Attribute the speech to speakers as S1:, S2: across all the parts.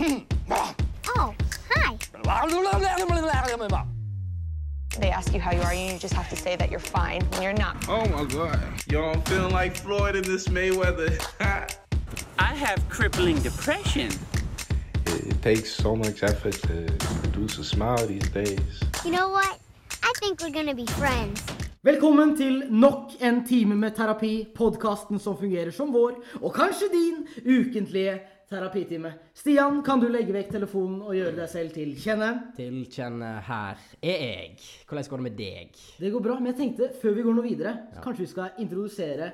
S1: Oh, hi.
S2: They ask you how you are, and you just have to say that you're fine when you're not.
S3: Oh my God. Yo, I'm feeling like Floyd in this Mayweather.
S4: I have crippling depression.
S5: It, it takes so much effort to produce a smile these days.
S1: You know what? I think we're gonna be friends.
S6: Velkommen til nok en time med terapi, podkasten som fungerer som vår, og kanskje din, ukentlige terapitime. Stian, kan du legge vekk telefonen og gjøre deg selv til kjenne?
S7: Tilkjenn her er jeg. Hvordan går det med deg?
S6: Det går bra, men jeg tenkte, før vi går noe videre, kanskje vi skal introdusere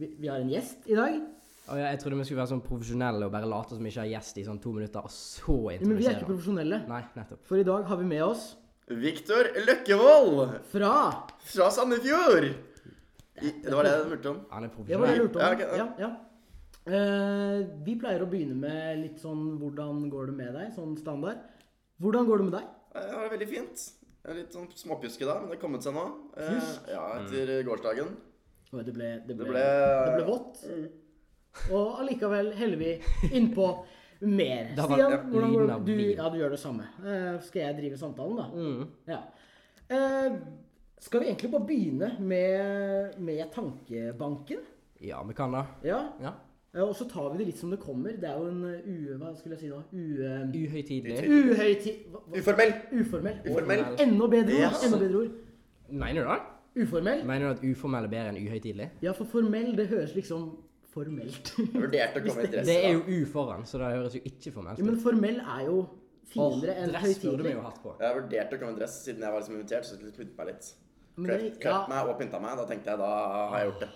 S6: Vi, vi har en gjest i dag.
S7: Å ja, jeg trodde vi skulle være sånn profesjonelle og bare late som vi ikke har gjest i sånn to minutter, og så
S6: Men vi er
S7: introdusere.
S6: ikke profesjonelle,
S7: Nei, nettopp.
S6: for i dag har vi med oss
S8: Viktor Løkkevold
S6: fra
S8: fra Sandefjord. I, det var det jeg lurte om.
S7: Han er
S6: Det var det jeg
S7: profesjonell.
S6: lurte om.
S8: Ja, ok,
S6: Ja, ja. Eh, vi pleier å begynne med litt sånn hvordan går det med deg, sånn standard. Hvordan går det med deg?
S8: Eh, Det var veldig fint. Jeg er Litt sånn småpjuske da, men det har kommet seg nå. Eh, ja, etter gårsdagen.
S6: Oi, Det ble, det ble,
S8: Det
S6: det ble...
S8: ble
S6: vått. Og allikevel heller vi innpå mer.
S7: Da var-
S6: Stian,
S7: ja,
S6: hvordan går
S7: lyden
S6: det?
S7: av
S6: Du,
S7: vin.
S6: ja, du gjør det samme. Eh, skal jeg drive samtalen, da? Ja. Eh, skal vi egentlig bare begynne med, med tankebanken?
S7: Ja, vi kan da.
S6: Ja.
S7: Ja.
S6: Eh, Og så tar vi det litt som det kommer. Det er jo en eh, u... Hva skulle jeg si nå? U...
S7: Uhøytidelig.
S6: Uhøytid... hva- hva-
S8: Uformell.
S6: Uformell.
S8: Uformell.
S6: Enda bedre ord.
S8: Yes.
S6: Enda bedre ord.
S7: Mener du det?
S6: Uformell.
S7: Mener du at uformell er bedre enn uhøytidelig?
S6: Ja, for formell, det høres liksom formelt ut.
S8: Jeg vurderte å komme i dress.
S7: Det er
S8: da.
S7: jo u foran, så det høres jo ikke formelt
S6: Ja, men
S7: ut.
S6: formell er jo finere enn
S7: Dress burde vi
S6: høytidelig.
S7: jo hatt på.
S8: Jeg vurderte å komme i dress siden jeg var liksom invitert. Så jeg pynte meg litt.
S6: Men
S8: Kløp,
S6: det- ja.
S8: kløp meg og pynta meg. Da tenkte jeg da har jeg gjort det.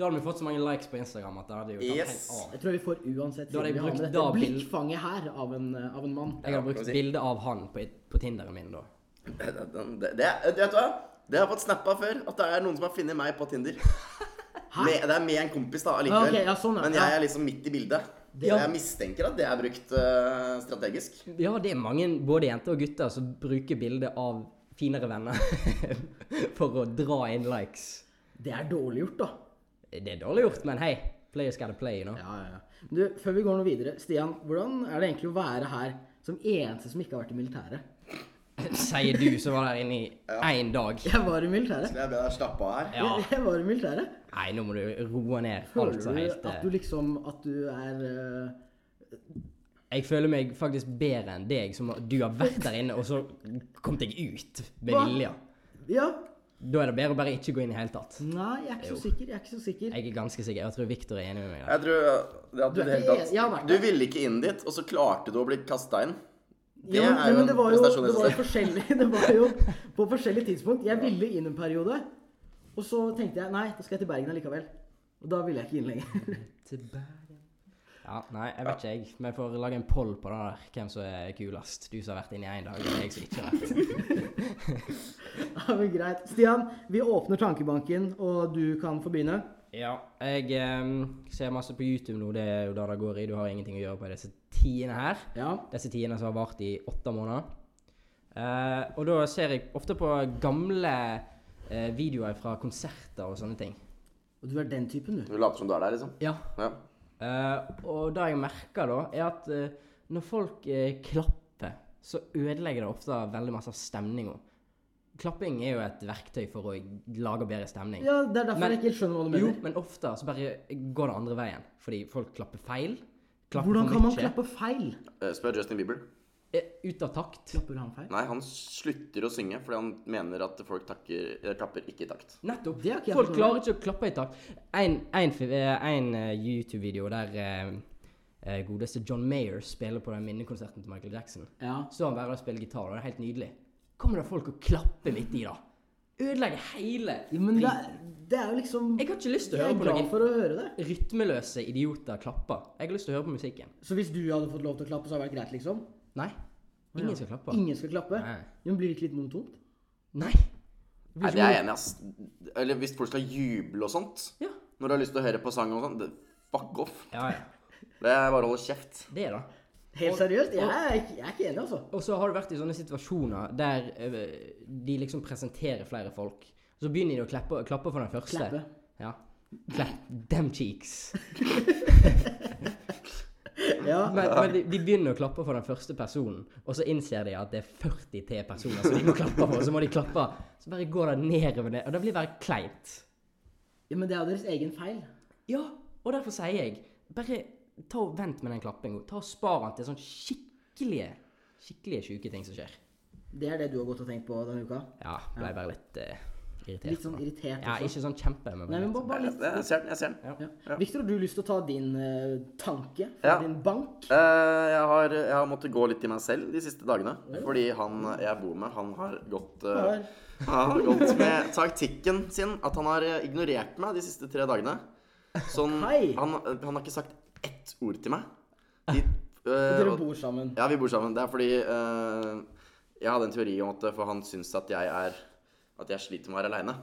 S7: Da hadde vi fått så mange likes på Instagram at det hadde jo tatt
S8: Yes.
S7: helt av.
S6: Jeg tror vi får uansett
S7: Da hadde
S6: siden
S7: jeg
S6: vi har
S7: brukt
S6: med dette
S7: da bild-
S6: blikkfanget her av en, av en mann.
S7: Jeg hadde brukt
S8: si.
S7: bilde av han på, på Tinderen min da.
S8: Det, det, det, det, vet du hva? Det har jeg fått snappa før. At det er noen som har funnet meg på Tinder. Med, det er med en kompis, da, allikevel.
S6: Ah, ok, ja, sånn, ja.
S8: Men jeg er liksom midt i bildet.
S7: Ja.
S8: Jeg mistenker at det er brukt eh, strategisk.
S7: Ja, det er mange, både jenter og gutter, som bruker bilder av finere venner for å dra inn likes.
S6: Det er dårlig gjort, da.
S7: Det er dårlig gjort, men hei. Players gotta play, you know.
S6: Ja, ja, ja. Du, før vi går noe videre, Stian, hvordan er det egentlig å være her som eneste som ikke har vært i militæret?
S7: Sier du som var der inne i én dag.
S6: Jeg var i militæret.
S8: Jeg ble slappe av her.
S7: Ja.
S6: Jeg var i militæret.
S7: Nei, nå må du roe ned
S6: Føler
S7: alt så helt
S6: du at du
S7: eh.
S6: liksom At du er eh,
S7: Jeg føler meg faktisk bedre enn deg, som du har vært der inne, og så kom deg ut med
S6: Hva?
S7: vilje.
S6: Ja.
S7: Da er det bedre å bare ikke gå inn i det hele tatt.
S6: Nei, jeg er ikke så sikker. Jeg er ikke så sikker.
S7: Jeg er ganske sikker. Jeg tror Victor er enig med meg. der.
S8: Jeg tror det at
S6: Du
S8: du,
S6: er
S8: det hele
S6: ikke-
S8: tatt,
S6: jeg har vært
S8: du
S6: der.
S8: ville ikke inn dit, og så klarte du å bli kasta inn. Det
S6: Ja, men,
S8: er
S6: ja,
S8: jo
S6: men
S8: en
S6: det var jo,
S8: prestasjon i
S6: det var jo
S8: seg selv.
S6: forskjellig. Det var jo på forskjellige tidspunkt. Jeg ville inn en periode, og så tenkte jeg nei, da skal jeg til Bergen allikevel. Og da ville jeg ikke inn lenger.
S7: Ja, nei, jeg vet ikke, jeg. Vi får lage en poll på det der, hvem som er kulest. Du som har vært inne i én dag, og jeg som ikke har vært.
S6: Ja, men greit. Stian, vi åpner tankebanken, og du kan få begynne.
S7: Ja, jeg em, ser masse på YouTube nå, det er jo da det går i. Du har ingenting å gjøre på disse tidene her.
S6: Ja.
S7: Disse tidene som har vart i åtte måneder. Eh, og da ser jeg ofte på gamle eh, videoer fra konserter og sånne ting.
S6: Og du er den typen, du.
S8: Du later som du er der, liksom.
S7: Ja.
S8: Ja.
S7: Eh, og det jeg merker da, er at eh, når folk eh, klapper, så ødelegger det ofte veldig masse av stemninga. Klapping er jo et verktøy for å lage bedre stemning.
S6: Ja, Det er derfor
S7: Men-
S6: jeg ikke helt skjønner hva du
S7: jo,
S6: mener.
S7: men ofte så bare går det andre veien, fordi folk klapper feil. klapper
S6: Hvordan
S7: for
S6: kan man
S7: mye,
S6: klappe feil?
S8: Eh, Spør Justin Bieber.
S7: eh, Ut av takt.
S6: Klapper han feil?
S8: Nei, han slutter å synge fordi han mener at folk takker, eh, klapper ikke i takt.
S7: Nettopp.
S6: Det har ikke jeg
S7: Folk
S6: forstått.
S7: klarer ikke å klappe i takt. En, en, fi- eh, en eh, YouTube-video der eh, eh, godeste John Mayer spiller på den minnekonserten til Michael Jackson.
S6: Ja.
S7: Så han bare og spiller gitar, og det er helt nydelig. Kommer det folk og klapper midt i, da? Ødelegger hele
S6: Jo, Men det,
S7: prisen.
S6: det er jo liksom
S7: Jeg har ikke lyst til å
S6: Jeg er
S7: høre på
S6: glad
S7: noen
S6: for å høre det.
S7: rytmeløse idioter klappe. Jeg har lyst til å høre på musikken.
S6: Så hvis du hadde fått lov til å klappe, så hadde det vært greit, liksom?
S7: Nei. Ingen skal klappe.
S6: Ingen skal klappe?
S7: Nei.
S6: Jo, men blir det ikke litt monotont?
S7: Nei.
S8: Nei, det er jeg enig i, ass. Eller hvis folk skal juble og sånt.
S7: Ja.
S8: Når du har lyst til å høre på sang og sånn. det- Fuck off.
S7: Ja, ja.
S8: Det er bare å holde kjeft.
S7: Det, da.
S6: Helt seriøst? Jeg er, ikke- jeg er ikke enig, altså.
S7: Og så har du vært i sånne situasjoner der eh, de liksom presenterer flere folk. Så begynner de å klappe, klappe for den første.
S6: Klappe.
S7: Ja. Clap them cheeks.
S6: Ja.
S7: Men, men de, de begynner å klappe for den første personen, og så innser de at det er 40 til personer som de må klappe for, og så må de klappe. Så bare går det nedover ned, og det blir bare kleint.
S6: Ja, Men det er jo deres egen feil.
S7: Ja, og derfor sier jeg, bare ta og vent med den klappingen. Ta og spar den til sånn skikkelige, skikkelige syke ting som skjer.
S6: Det er det du har gått og tenkt på denne uka.
S7: Ja, ble bare litt eh, irritert.
S6: Litt sånn irritert
S7: Ja,
S6: også.
S7: ikke sånn kjempe, men
S6: Nei,
S7: bare
S6: men
S7: litt.
S6: bare, bare
S8: Jeg
S6: litt.
S8: jeg ser den. jeg ser den.
S6: Ja. Victor, har du lyst til å ta din eh, tanke fra
S8: Ja.
S6: din bank?
S8: Eh, jeg, har, jeg har måttet gå litt i meg selv de siste dagene. Fordi han jeg bor med, han har gått, eh, han har gått med taktikken sin. At han har eh, ignorert meg de siste tre dagene. Sånn,
S6: Hei.
S8: han, han har ikke sagt ett ord til meg. De, eh,
S6: Dere
S8: og-
S6: bor sammen.
S8: ja, vi bor sammen. Det er fordi eh, jeg hadde en teori om at eh, for han syns at jeg er At jeg sliter med å være aleine.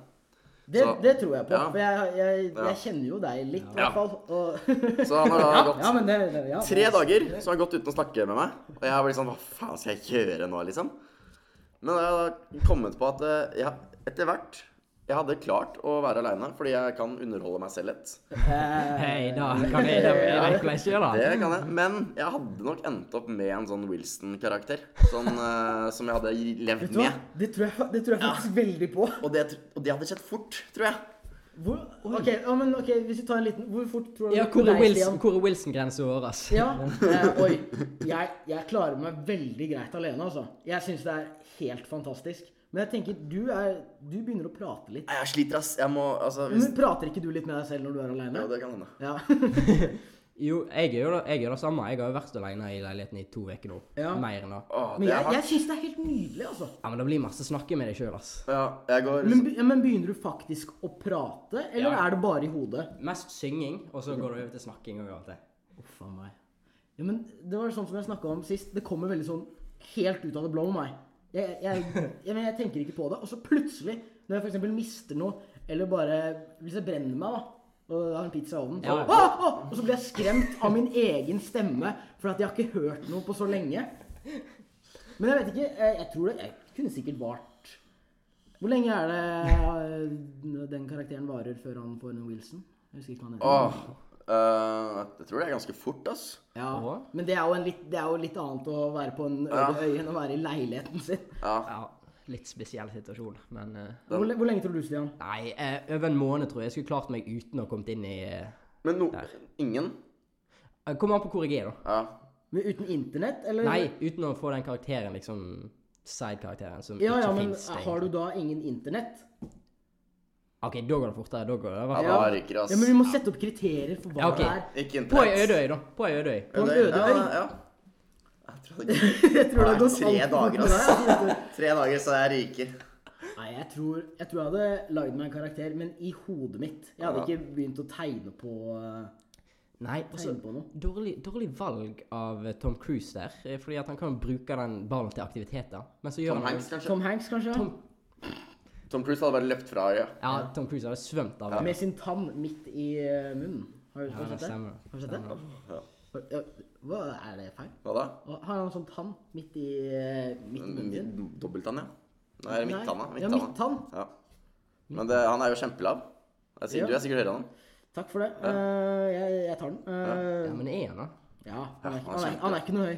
S6: Det,
S8: så-
S6: det tror jeg på.
S8: Ja.
S6: For jeg, jeg,
S8: Ja.
S6: jeg kjenner jo deg litt, i
S8: Ja.
S6: hvert fall. Og,
S8: Så han har da gått
S6: ja, men det, det, ja.
S8: Tre dager så har han gått uten å snakke med meg. Og jeg har blitt sånn Hva faen skal jeg gjøre nå, liksom? Men da har jeg da kommet på at eh, ja, etter hvert Jeg hadde klart å være aleine, fordi jeg kan underholde meg selv litt.
S7: Hei, da kan vi da virkelig ikke gjøre
S8: Det
S7: det.
S8: kan jeg. Men jeg hadde nok endt opp med en sånn Wilson-karakter. Sånn, eh, som jeg hadde
S6: Vet
S8: levd
S6: du hva?
S8: med.
S6: Det tror jeg, det tror jeg faktisk veldig på.
S8: Og det, tr- og det hadde skjedd fort, tror jeg.
S6: Hvor, ok, ja, men, ok, hvis vi tar en liten Hvor fort tror du
S7: Ja,
S6: det går
S7: hvor er
S6: deg,
S7: Wilson-
S6: Stian?
S7: hvor er Wilson-grensen vår, ass?
S6: Ja. Eh, oi. Jeg, jeg klarer meg veldig greit alene, altså. Jeg syns det er helt fantastisk. Men jeg tenker, du, er, du begynner å prate litt.
S8: Nei, Jeg sliter, ass. Jeg må Altså, hvis
S6: Men prater ikke du litt med deg selv når du er alene?
S8: Jo, det kan hende.
S6: Ja.
S7: Jo, jeg gjør det, jeg gjør det samme. Jeg har jo vært alene i leiligheten i to uker nå.
S6: Ja.
S7: Mer enn det.
S8: Åh,
S6: Men
S8: det
S6: jeg,
S8: er
S6: jeg
S8: hardt.
S6: syns det er helt nydelig, altså.
S7: Ja, men det blir masse snakke med deg sjøl, ass.
S8: Ja, jeg går liksom-
S6: Men, be- men begynner du faktisk å prate, eller
S7: Ja.
S6: er det bare i hodet?
S7: Mest synging, og så går det over til snakking og alt det.
S6: Uff a meg. Ja, men det var sånn som jeg snakka om sist. Det kommer veldig sånn helt ut av det blå med meg. Jeg, jeg, jeg, men jeg tenker ikke på det. Og så plutselig, når jeg for eksempel mister noe, eller bare Hvis jeg brenner meg, da, og jeg har en pizza i ovnen, så,
S7: Ja.
S6: «Åh, åh!» og så blir jeg skremt av min egen stemme, for at jeg har ikke hørt noe på så lenge. Men jeg vet ikke. Jeg, jeg tror det jeg kunne sikkert vart Hvor lenge er det eh, den karakteren varer før han får en Wilson? Jeg husker ikke hva han heter.
S8: Åh. eh, jeg tror det er ganske fort, ass.
S6: Ja,
S7: Og?
S6: men det er, jo en litt, det er jo litt annet å være på en øde øy enn å være i leiligheten sin.
S7: Ja, litt spesiell situasjon, men eh,
S6: Hvor, le- hvor lenge tror du, Stian?
S7: Nei, eh, over en måned tror jeg jeg skulle klart meg uten å ha kommet inn i eh,
S8: Men no, ingen
S7: eh, Kom an på hvor jeg er, da.
S8: Ja.
S6: Men uten internett, eller?
S7: Nei, uten å få den karakteren, liksom Side-karakteren som
S6: Ja, ja,
S7: ikke
S6: men
S7: fins.
S6: har du da ingen internett?
S7: OK, da går det fortere. Da går det i hvert
S8: Ja,
S7: fall.
S8: da ryker det, ass.
S6: Ja, men vi må sette opp kriterier for hva
S7: Ja, ok.
S6: det er.
S8: Ikke
S7: På ei
S8: internett.
S7: ødøy, da. På ei ødøy.
S6: På en
S8: Ødøy,
S6: øde
S8: ja,
S6: øy.
S8: ja. Jeg tror det går
S6: Jeg tror det har
S8: Nei,
S6: gått
S8: tre
S6: altfor fort
S8: dager,
S6: med
S8: ass.
S6: deg, altså, vet
S8: Tre dager, så jeg ryker.
S6: du. Nei, jeg tror, jeg tror jeg hadde lagd meg en karakter, men i hodet mitt. Jeg hadde
S8: Ja.
S6: ikke begynt å tegne på eh,
S7: Nei, altså,
S6: Tegne på noe.
S7: dårlig, dårlig valg av eh, Tom Cruise der. eh, Fordi at han kan jo bruke den ballen til aktiviteter. Men så gjør
S8: Tom
S7: han
S8: Hanks, kanskje?
S6: Tom Hanks, kanskje?
S8: Tom Cruise hadde bare løpt fra øya.
S7: Ja, Tom Cruise hadde svømt av
S6: Med sin tann midt i eh, munnen. Har du
S7: Ja,
S6: har du
S7: det
S6: sett det?
S7: stemmer.
S6: Har du sett det? Har- ja, Hva er det feil?
S8: Hva da?
S6: Og har han en sånn tann midt i eh, midt i munnen sin?
S8: Mid- Dobbelttann, ja. Nei, er det
S6: Nei.
S8: midttanna?
S6: Ja, midttann.
S8: Ja. Men det, han er jo kjempelav. Jeg sier,
S6: Ja.
S8: Du er sikkert høyere enn han.
S6: Takk for det. Eh, jeg, jeg tar den. Eh,
S7: Ja, men er han da?
S6: ja, han er, ikke- han,
S8: Ja, han
S6: er,
S8: skjønte
S6: han er ikke noe høy.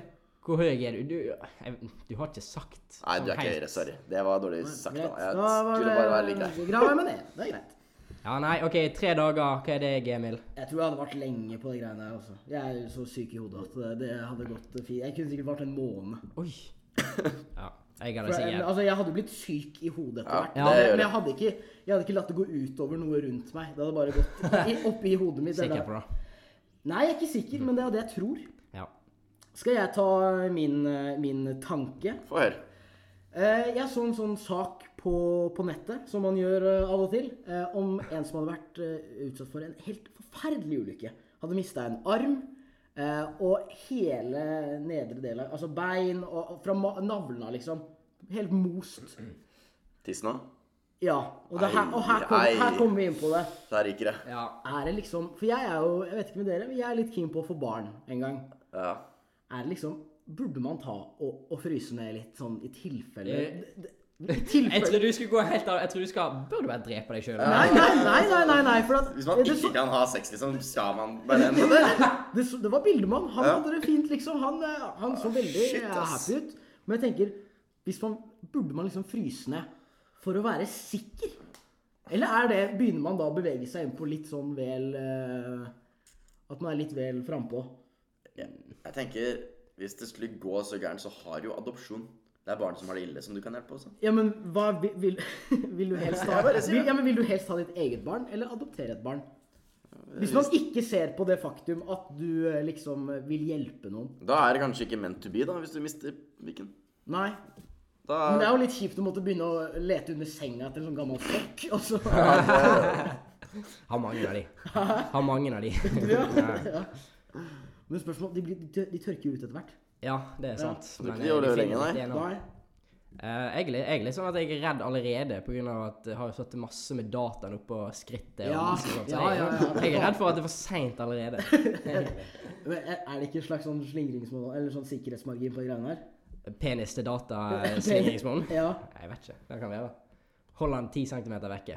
S7: Hvor høy er du? Du, jeg, du har ikke sagt
S8: Nei, du er
S7: sånn
S8: ikke
S7: helt-
S8: høyere. Sorry. Det var dårlig sagt.
S6: Greit.
S8: Da. Jeg
S6: Da var
S8: skulle bare være lik deg.
S6: det Grav med det. Det er greit.
S7: Ja, nei, OK, tre dager. Hva er det, Emil?
S6: Jeg tror jeg hadde vært lenge på de greiene her. Altså. Jeg er jo så syk i hodet at det, det hadde gått fint. Jeg kunne sikkert vært en måned.
S7: Oi. Ja, jeg hadde
S6: For, eh,
S7: sikkert
S6: altså, jeg hadde blitt syk i hodet etter
S8: Ja,
S6: hvert.
S7: ja,
S6: Men-
S7: det
S8: gjør
S6: men jeg hadde, ikke, jeg hadde ikke latt det gå utover noe rundt meg. Det hadde bare gått i, oppi hodet mitt.
S7: Sikker
S6: eller-
S7: på det.
S6: Nei, jeg er ikke sikker, men det er det jeg tror.
S7: Ja.
S6: Skal jeg ta min, eh, min tanke?
S8: Få høre.
S6: Eh, Jeg så en sånn sak på, på nettet, som man gjør eh, av og til, eh, om en som hadde vært eh, utsatt for en helt forferdelig ulykke. Hadde mista en arm, eh, og hele nedre del av Altså bein og og fra ma- navlene, liksom. Helt most.
S8: Tiss nå.
S6: Ja. Og, det her, og her, kom,
S8: Ei, ei.
S6: her kommer vi inn på det.
S8: Der ryker det.
S7: ja.
S6: Er det liksom For jeg er jo, jeg vet ikke med dere, men jeg er litt keen på å få barn en gang.
S8: Ja.
S6: Er det liksom Burde man ta og, og fryse ned litt sånn i tilfelle
S7: Eh,
S6: Det- det- I
S7: Jeg
S6: tilfelle
S7: trodde du skulle gå helt av Jeg trodde du skal Bør du bare drepe deg sjøl?
S6: Nei, nei, nei, nei, nei, nei for at
S8: Hvis man
S6: det,
S8: ikke
S6: så,
S8: kan ha sex, liksom, skal man bare ende det?
S6: det, så, det var bildemann. Han
S8: Ja. Ah,
S6: hadde det fint, liksom. Han, eh, han så veldig
S8: shit,
S6: eh,
S8: ass.
S6: happy ut. Men jeg tenker hvis man, Burde man liksom fryse ned for å være sikker? Eller er det, begynner man da å bevege seg inn på litt sånn vel eh, At man er litt vel frampå?
S8: Jeg tenker, hvis det skulle gå så gærent, så har jo adopsjon. Det er barn som har det ille, som du kan hjelpe også.
S6: Ja, men hva vil, vil, vil du helst ha?
S8: Jeg bare sier
S6: Vil,
S8: det.
S6: ja, men vil du helst ha ditt eget barn, eller adoptere et barn? Hvis man ikke ser på det faktum at du eh, liksom vil hjelpe noen.
S8: Da er det kanskje ikke meant to be, da, hvis du mister pikken.
S6: Nei.
S8: Da
S6: Men det er
S8: er
S6: jo litt kjipt å måtte begynne å lete under senga etter en sånn gammel flokk, og så
S7: Har mange av de. Har mange av de.
S6: Men spørsmålet de, blir, de, de tørker jo ut etter hvert.
S7: Ja, det er sant.
S8: du ikke
S7: Men
S8: de holder
S7: jeg-
S8: lenge,
S7: finner
S8: nei?
S7: DNA.
S6: Nei.
S7: Eh, jeg, jeg er litt sånn at jeg er redd allerede pga. at jeg har jo satt masse med dataen oppå skrittet. og
S6: Ja,
S7: masse sånt. Så
S6: ja,
S7: jeg,
S6: ja, ja.
S7: jeg er redd for at det er for seint allerede.
S6: Men Er er det ikke en slags sånn slingringsmål, eller sånn sikkerhetsmargin på de greiene her?
S7: Penis til data-slingringsmonn?
S6: Ja.
S7: Jeg vet ikke. Det kan være. Hold han ti centimeter vekke.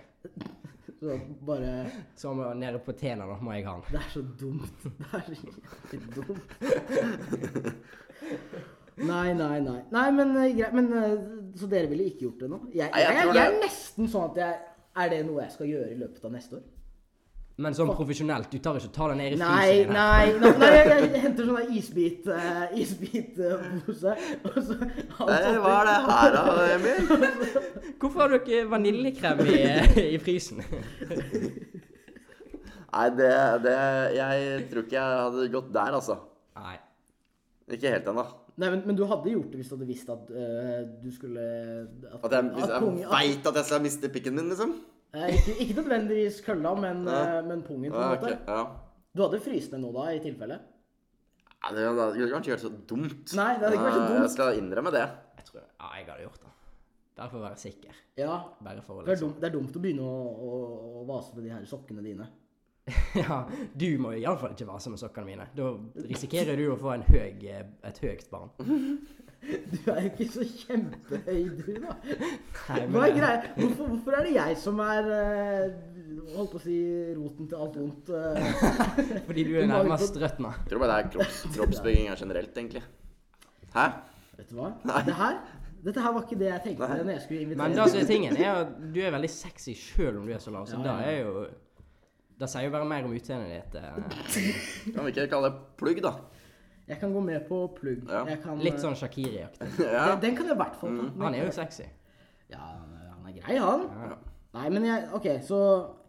S6: Så bare
S7: Så må nede på tena da, må jeg ha han.
S6: Det er så dumt. Det er så jævlig dumt. Nei, nei, nei. Nei, men eh, greit. Men eh, Så dere ville ikke gjort det nå? Jeg,
S8: Nei,
S6: jeg,
S8: jeg tror
S6: jeg,
S8: det.
S6: er nesten sånn at jeg Er det noe jeg skal gjøre i løpet av neste år?
S7: Men sånn profesjonelt, du tar ikke ta den ned i
S6: Nei,
S7: fryseren? her.
S6: nei, nei, nei jeg, jeg henter sånn der isbit, uh, isbitpose, og så
S8: Hey, Eh, hva er det her da, Emil?
S7: Hvorfor har dere vaniljekrem i, i frysen?
S8: Nei, det, det Jeg tror ikke jeg hadde gått der, altså.
S7: Nei.
S8: Ikke helt ennå.
S6: Nei, men, men du hadde gjort det hvis du hadde visst at eh, du skulle At,
S8: At jeg, hvis
S6: at
S8: jeg
S6: pungen- at-
S8: veit at jeg skal miste pikken min, liksom.
S6: eh, ikke, ikke nødvendigvis kølla, men,
S8: Ja.
S6: eh, men pungen, på
S8: Ja,
S6: en
S8: ok,
S6: måte.
S8: ja.
S6: Du hadde fryst ned nå, da, i tilfelle?
S8: Nei, det det hadde kanskje ikke vært så dumt.
S6: Nei, det hadde ikke vært så
S8: Ja,
S6: dumt.
S8: Jeg skal innrømme det.
S7: Jeg tror Ja, jeg hadde gjort det. Bare for å være sikker.
S6: Ja.
S7: Bare for å
S6: Det er,
S7: liksom
S6: dumt, det er dumt å begynne å, å, å vase med de her sokkene dine.
S7: Ja, du må iallfall ikke vase med sokkene mine. Da risikerer du å få en høy, eh, et høyt barn.
S6: Du er jo ikke så kjempehøy, du, da.
S7: Nei, men-
S6: Hva er greia? Hvorfor, hvorfor er det jeg som er eh, Holdt på å si roten til alt vondt? eh?
S7: Fordi du er nærmest røtna.
S8: Jeg tror bare det er kropps, kroppsbygging her generelt, egentlig. Hæ?
S6: Vet du hva? Det her, dette her var ikke det jeg tenkte
S8: Nei.
S6: når jeg skulle
S7: Men det
S6: invitere
S7: som er tingen, er at du er veldig sexy sjøl om du er så lav, så
S6: Ja, ja,
S7: det er jo Det sier jo bare mer om utseendet ditt. eh,
S8: Kan vi ikke kalle det plugg, da?
S6: Jeg kan gå med på plugg.
S8: Ja.
S6: Jeg kan, eh,
S7: Litt sånn Mm. Shakiri-aktig.
S8: Ja.
S6: Den, den kan jeg i hvert fall ta. Den
S7: Han
S6: kan
S7: er jo
S6: jeg-
S7: sexy.
S6: Ja, han er grei, han.
S7: Ja.
S6: Nei, men jeg OK, så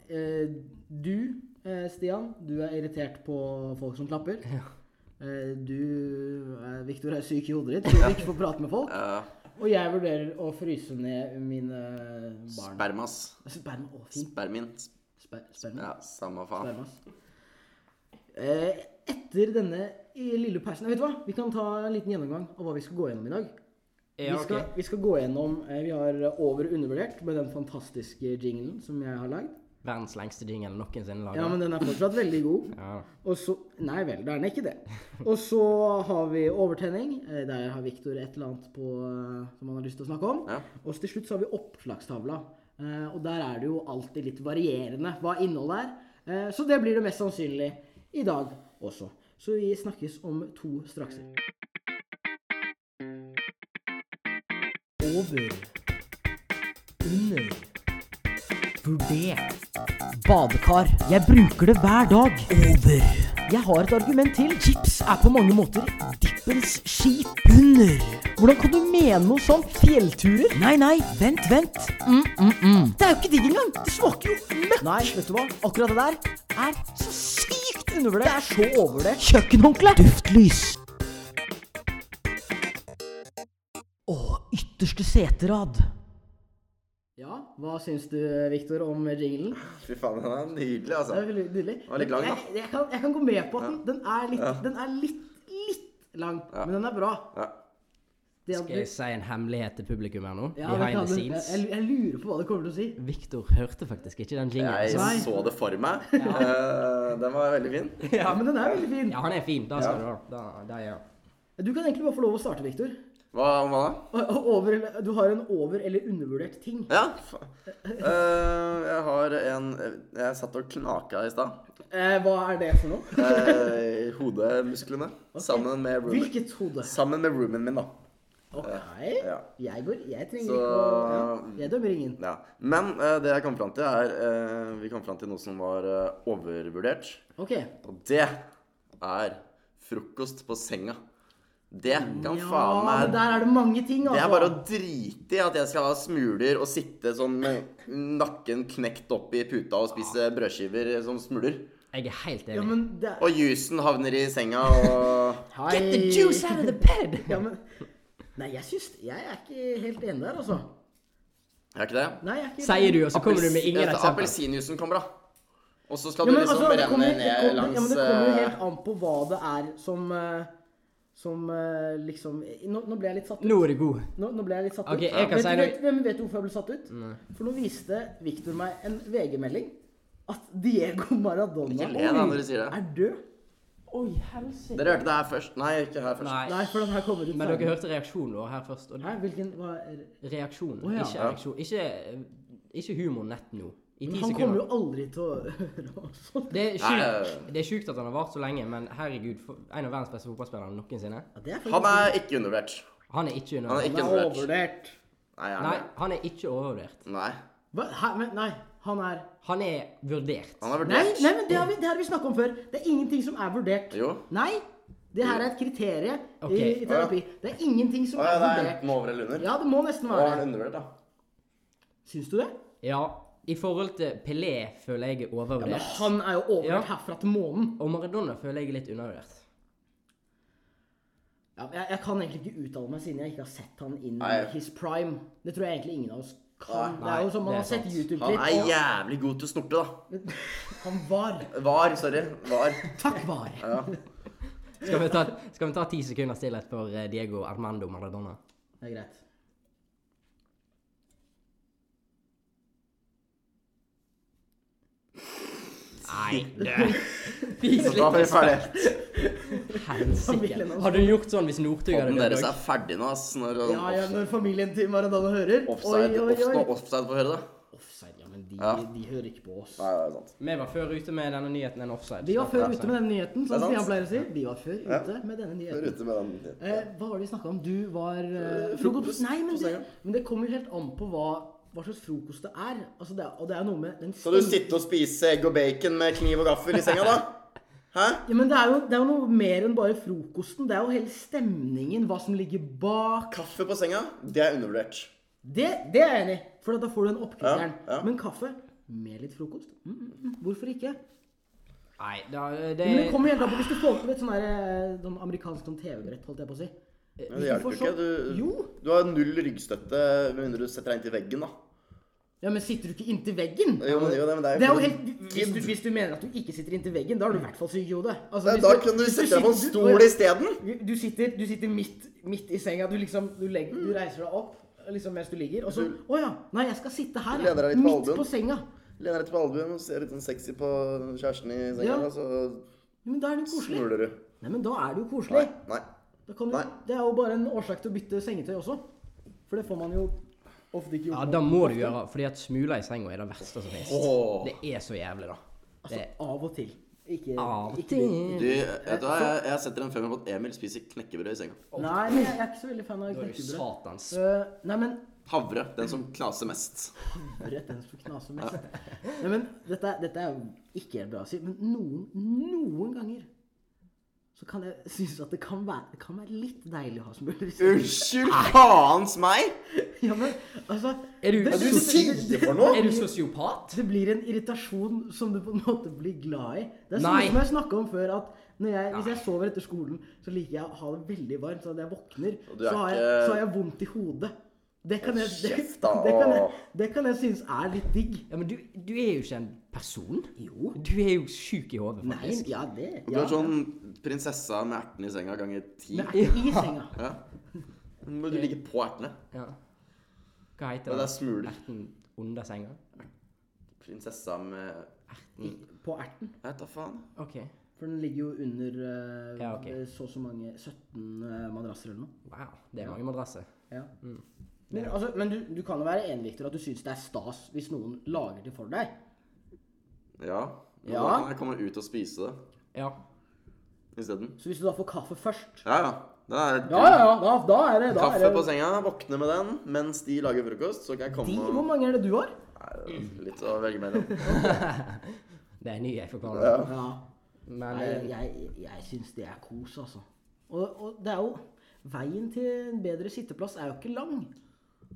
S6: eh, du, eh, Stian, du er irritert på folk som klapper. Eh, du, eh, Victor, er syk i hodet ditt, så du ikke får prate med folk.
S8: Ja.
S6: Og jeg vurderer å fryse ned mine eh, barn.
S8: Spermas.
S6: Sperm. Å, fint.
S8: Spermin.
S6: Sper sperma.
S8: Ja, samme faen.
S6: Spermas. Eh, etter denne i- lille pausen Vet du hva? Vi kan ta en liten gjennomgang av hva vi skal gå gjennom i dag.
S7: Ja,
S6: vi, skal,
S7: ok.
S6: vi skal gå gjennom eh, Vi har over- og undervurdert med den fantastiske jinglen som jeg har lagd.
S7: Verdens lengste jingle noensinne laga.
S6: Ja, men den er fortsatt veldig god.
S7: Ja.
S6: Og så Nei vel, det er den ikke det. Og så har vi overtenning. eh, Der har Viktor et eller annet på, eh, som han har lyst til å snakke om.
S8: Ja.
S6: Og så til slutt så har vi oppslagstavla. Eh, Og der er det jo alltid litt varierende hva innholdet er. Eh, Så det blir det mest sannsynlig i dag også. Så vi snakkes om to strakser. Over. Under. Vurdert. Badekar. Jeg bruker det hver dag. Over. Jeg har et argument til. Chips er på mange måter dippens skit. Under. Hvordan kan du mene noe sånt? Fjellturer? Nei, nei, vent, vent. Det er jo ikke digg engang. Det smaker jo møkk. Nei, vet du hva? Akkurat det der er så sykt undervurdert. Det er så overvurdert. Kjøkkenhåndkle. Duftlys. Å, ytterste seterad. Ja, hva syns du, Viktor, om jinglen?
S8: Fy faen, den er nydelig,
S6: Det er
S8: altså.
S6: veldig nydelig.
S8: var litt lang, da.
S6: Jeg, jeg, kan, jeg kan gå med på at den, den er litt, den er litt, litt lang,
S8: Ja.
S6: men den er bra.
S8: Ja.
S6: Det at
S7: Skal jeg
S6: du-
S7: si en hemmelighet til publikum her nå?
S6: ja,
S7: Behind
S6: vet du
S7: the
S6: hva,
S7: scenes.
S6: Jeg, jeg, jeg lurer på hva du kommer til å si.
S7: Victor hørte faktisk ikke den jinglen. så-
S8: Jeg så det for meg. Eh, Den var veldig fin.
S6: Ja, men den er veldig fin.
S7: Ja, han er fin. Da skal du ha. Da, da er jeg.
S6: Du kan egentlig bare få lov å starte, Viktor.
S8: Hva, hva da?
S6: Over, eller- du har en over- eller undervurdert ting.
S8: Ja. fa- Eh, jeg har en Jeg satt og knaka i stad.
S6: Eh, hva er det for noe?
S8: Eh, hodemusklene. Sammen med roomien
S6: Hvilket hode?
S8: Sammen med roomien min, da.
S6: Ok.
S8: Ja.
S6: Jeg går Jeg trenger
S8: Så- mm.
S6: ikke å ja, Jeg dømmer ingen.
S8: ja. Men eh, det jeg kom fram til, er eh, Vi kom fram til noe som var eh, overvurdert.
S6: Ok.
S8: Og det er frokost på senga. Det kan faen
S6: Ja, men
S8: meg
S6: der er det mange ting, altså.
S8: Det er bare å drite i at jeg skal ha smuler og sitte sånn med nakken knekt opp i puta og spise brødskiver som smuler.
S7: Jeg er helt
S6: Ja,
S7: enig.
S6: men det er...
S8: Og juicen havner i senga og
S6: Hei.
S7: Get the juice out of the bed!
S6: Ja, men... Nei, jeg syns Jeg er ikke helt enig der, altså.
S8: Er ikke det?
S6: Nei, jeg er ikke
S7: Sier du, og så kommer du med ingen
S8: Appels-
S7: eksempler.
S8: Appelsinjuicen kommer, da. Og så skal
S6: Ja,
S8: du
S6: men,
S8: liksom
S6: altså, det kommer,
S8: renne
S6: det
S8: ned
S6: kommer, ja, men
S8: langs
S6: det kommer jo
S8: eh,
S6: helt an på hva det er som eh, Som eh, liksom Nå, nå ble jeg litt satt ut.
S7: Nå er du god.
S6: Nå, nå ble jeg litt satt
S7: Ok,
S6: ut.
S7: jeg kan
S6: vet,
S7: si
S6: du-
S7: noe-
S6: vet, hvem vet du hvorfor jeg ble satt ut? For nå viste Victor meg en VG-melding at Diego Maradona
S8: Ikke le da
S6: Oi,
S8: når du sier det.
S6: er død.
S7: Oi, helsike.
S8: Dere hørte det her først. Nei, ikke her først.
S7: Nei.
S6: Nei, for den her kommer ut
S7: Men dere
S6: senere.
S7: hørte reaksjonen vår her først. Og
S6: Hæ, hvilken hva er...
S7: reaksjonen,
S6: Å, ja.
S7: ikke
S8: Ja.
S7: ereksjon. Ikke, ikke humor nett nå. I ti
S6: Han kommer jo
S7: sekunder.
S6: aldri til å høre oss.
S7: Det er,
S8: Nei.
S7: sjukt, det er sjukt at han har vart så lenge, men herregud, for en av verdens beste fotballspillere noensinne.
S6: Ja, det er
S8: Han er ikke undervurdert.
S7: Han er ikke
S8: Han er
S6: Han
S7: under...
S8: ikke
S6: er
S8: undervurdert.
S6: overvurdert.
S8: Nei,
S7: Nei,
S8: er han det?
S7: han er ikke overvurdert.
S8: Nei.
S6: Hva? Hæ? Men nei, han er
S7: Han er vurdert.
S8: Han er
S6: Nei,
S8: vurdert.
S6: nei men det har vi, det har vi snakka om før. Det er ingenting som er vurdert.
S8: Jo.
S6: Nei. Det her er et kriterium
S7: Ok.
S6: i, i terapi. Det er ingenting som
S8: Å ja,
S6: er
S8: det er enten
S6: vurdert.
S8: over eller under.
S6: Ja, det må nesten
S8: Da er
S6: være
S8: han
S6: det.
S8: undervurdert, da.
S6: Syns du det?
S7: Ja, i forhold til Pelé føler jeg er
S6: Men
S7: overvurdert.
S6: han er jo
S7: Ja.
S6: overvurdert herfra til månen.
S7: Og Maradona føler jeg er litt undervurdert.
S6: Ja, men jeg, jeg kan egentlig ikke uttale meg siden jeg ikke har sett han in
S8: Nei.
S6: his prime. Det tror jeg egentlig ingen av oss kan.
S7: Nei,
S6: det er jo som
S7: det
S6: man
S7: er
S6: har sett
S7: sant.
S8: Han
S6: YouTube-klipp.
S8: er jævlig god til å snorte, da.
S6: Han var.
S8: Var, sorry. Var.
S6: Takk var.
S7: Skal vi ta, skal vi ta ti sekunder stillhet for eh, Diego Armando Maradona?
S6: Det er greit.
S7: Nei, det Fis
S8: Da er vi
S7: litt
S8: ferdige.
S7: helsike. Hadde du gjort sånn hvis Northug hadde
S8: Podden
S7: dødd
S8: deres
S7: også?
S8: er ferdig nå, ass. Når
S6: Ja, ja, når familien til Maradona hører
S8: offside, off, når offside får høre det.
S6: Offside, ja, men de,
S8: Ja.
S6: de hører ikke på oss.
S8: Nei, det er sant.
S7: Vi var før ute med denne nyheten enn offside.
S6: Vi var før ute med denne nyheten, som
S8: Det er sant.
S6: Stian pleier å si. Vi var før ute med denne
S8: Hør
S6: nyheten.
S8: ute med den.
S6: Eh, hva var det vi snakka om? Du var eh,
S8: frokost
S6: Nei, men
S8: på
S6: det,
S8: senga.
S6: men det kommer jo helt an på hva, hva slags frokost det er. Altså, det er. Og det er jo noe med den
S8: Skal du
S6: stem-
S8: sitte og spise egg og bacon med kniv og gaffel i senga, da? Hæ?
S6: Ja, men det er, jo, det er jo noe mer enn bare frokosten. Det er jo hele stemningen, hva som ligger bak.
S8: Kaffe på senga, det er undervurdert.
S6: Det, det er jeg enig i, for da får du den oppkvikkeren.
S8: Ja, ja.
S6: Men kaffe med litt frokost? Mm, mm, mm. Hvorfor ikke?
S7: Nei, da, eh, det
S6: Men det kommer helt an på hvis du får til et sånn der, eh, sånn amerikansk sånn TV-brett, holdt jeg på å si.
S7: Eh,
S8: Men det hjelper jo ikke. Du,
S6: Jo.
S8: du har null ryggstøtte med mindre du setter deg inntil veggen, da.
S6: Ja, men sitter du ikke inntil veggen?
S8: Jo, men det er jo det, men det er jo
S6: Det er jo
S8: for en
S6: helt, hvis, du, hvis du mener at du ikke sitter inntil veggen, da er du i hvert fall syk i hodet. Altså,
S8: Nei,
S6: hvis
S8: Da kan du
S6: hvis
S8: sette deg på en
S6: sitter-
S8: stol isteden.
S6: Du sitter, du sitter midt, midt i senga. Du liksom, du, legger, du reiser deg opp liksom mens du ligger, og så Å ja. Nei, jeg skal sitte her.
S8: lener deg litt på
S6: midt
S8: albuen.
S6: på senga.
S8: Lener deg til på albuen og ser litt sånn sexy på kjæresten i senga,
S6: Ja.
S8: og så
S6: Ja, Men da er det jo koselig.
S8: smuler du.
S6: Nei, men da er det jo
S8: Nei.
S6: koselig.
S8: Nei.
S6: Da kan du,
S8: Nei.
S6: det er jo bare en årsak til å bytte sengetøy også. For det får man jo ofte ikke gjort.
S7: Ja,
S6: nå.
S7: da må du gjøre fordi at smuler i senga er det verste som finnes.
S8: Åh.
S7: Det er så jævlig, da.
S6: Altså, av og til. Ikke
S7: Av og
S6: ikke-
S8: Du,
S7: til.
S8: vet du hva, jeg, jeg setter en femmer på at Emil spiser knekkebrød i senga.
S6: Nei, men jeg er ikke så veldig fan av
S7: Det er jo
S6: knekkebrød.
S7: satans.
S6: Eh, nei, men
S8: Havre. Den som knaser mest.
S6: Rett den som knaser mest. Nei, men dette, er- dette er jo ikke helt bra å si, men noen, noen ganger så kan jeg synes at det kan være, det kan være litt deilig å ha smuler. i sengen.
S8: Unnskyld faens meg!
S6: Ja, men altså
S7: Er du-
S6: det,
S7: er du
S6: det-
S8: sier
S6: det- det-
S8: for noe?
S7: Er du sosiopat?
S6: Det blir en irritasjon som du på en måte blir glad i. Det er
S7: Nei.
S6: sånn som jeg snakka om før, at når jeg, hvis jeg sover etter skolen, så liker jeg å ha det veldig varmt. Så når jeg våkner,
S8: Og du er
S6: så har, jeg,
S8: ikke-
S6: så har jeg vondt i hodet. Det kan jeg, det,
S8: Kjeft,
S6: det
S8: da.
S6: kan jeg, det kan jeg synes er litt digg.
S7: Ja, men du, du er jo ikke en person.
S6: Jo.
S7: Du er jo sjuk i hodet,
S6: Nei,
S7: faktisk.
S6: ja, det
S8: Du
S6: ja.
S8: er sånn prinsessa med ertene i senga ganger ti.
S6: Men er ikke i senga.
S8: Ja. Men du ligger på ertene.
S7: Ja. Hva heter
S8: Og det er
S7: det?
S8: smuler.
S7: Erten under senga?
S8: Prinsessa med Mm.
S6: På erten.
S8: Jeg vet da faen.
S7: OK.
S6: For den ligger jo under eh,
S7: Ja, ok.
S6: så og så mange 17 eh, madrasser eller noe.
S7: Wow, det er mange madrasser.
S6: Ja.
S7: Mm.
S6: Men, altså, men du, du kan jo være enig, Victor, at du syns det er stas hvis noen lager det for deg.
S8: Ja. Men
S6: Ja.
S8: da kan jeg komme ut og spise det
S7: Ja.
S8: isteden.
S6: Så hvis du da får kaffe først
S8: Ja, ja. Da er
S6: Ja, ja, ja. Da, da er det da
S8: Kaffe
S6: er
S8: på
S6: det,
S8: senga, våkne med den mens de lager frokost. Så kan jeg
S6: De,
S8: komme
S6: hvor mange er det du har?
S8: Nei, Litt å velge mellom.
S7: Det er ny jeg får kalle det.
S6: Ja.
S7: Men
S6: Nei,
S7: eh,
S6: jeg, jeg syns det er kos, altså. Og, og det er jo Veien til en bedre sitteplass er jo ikke lang.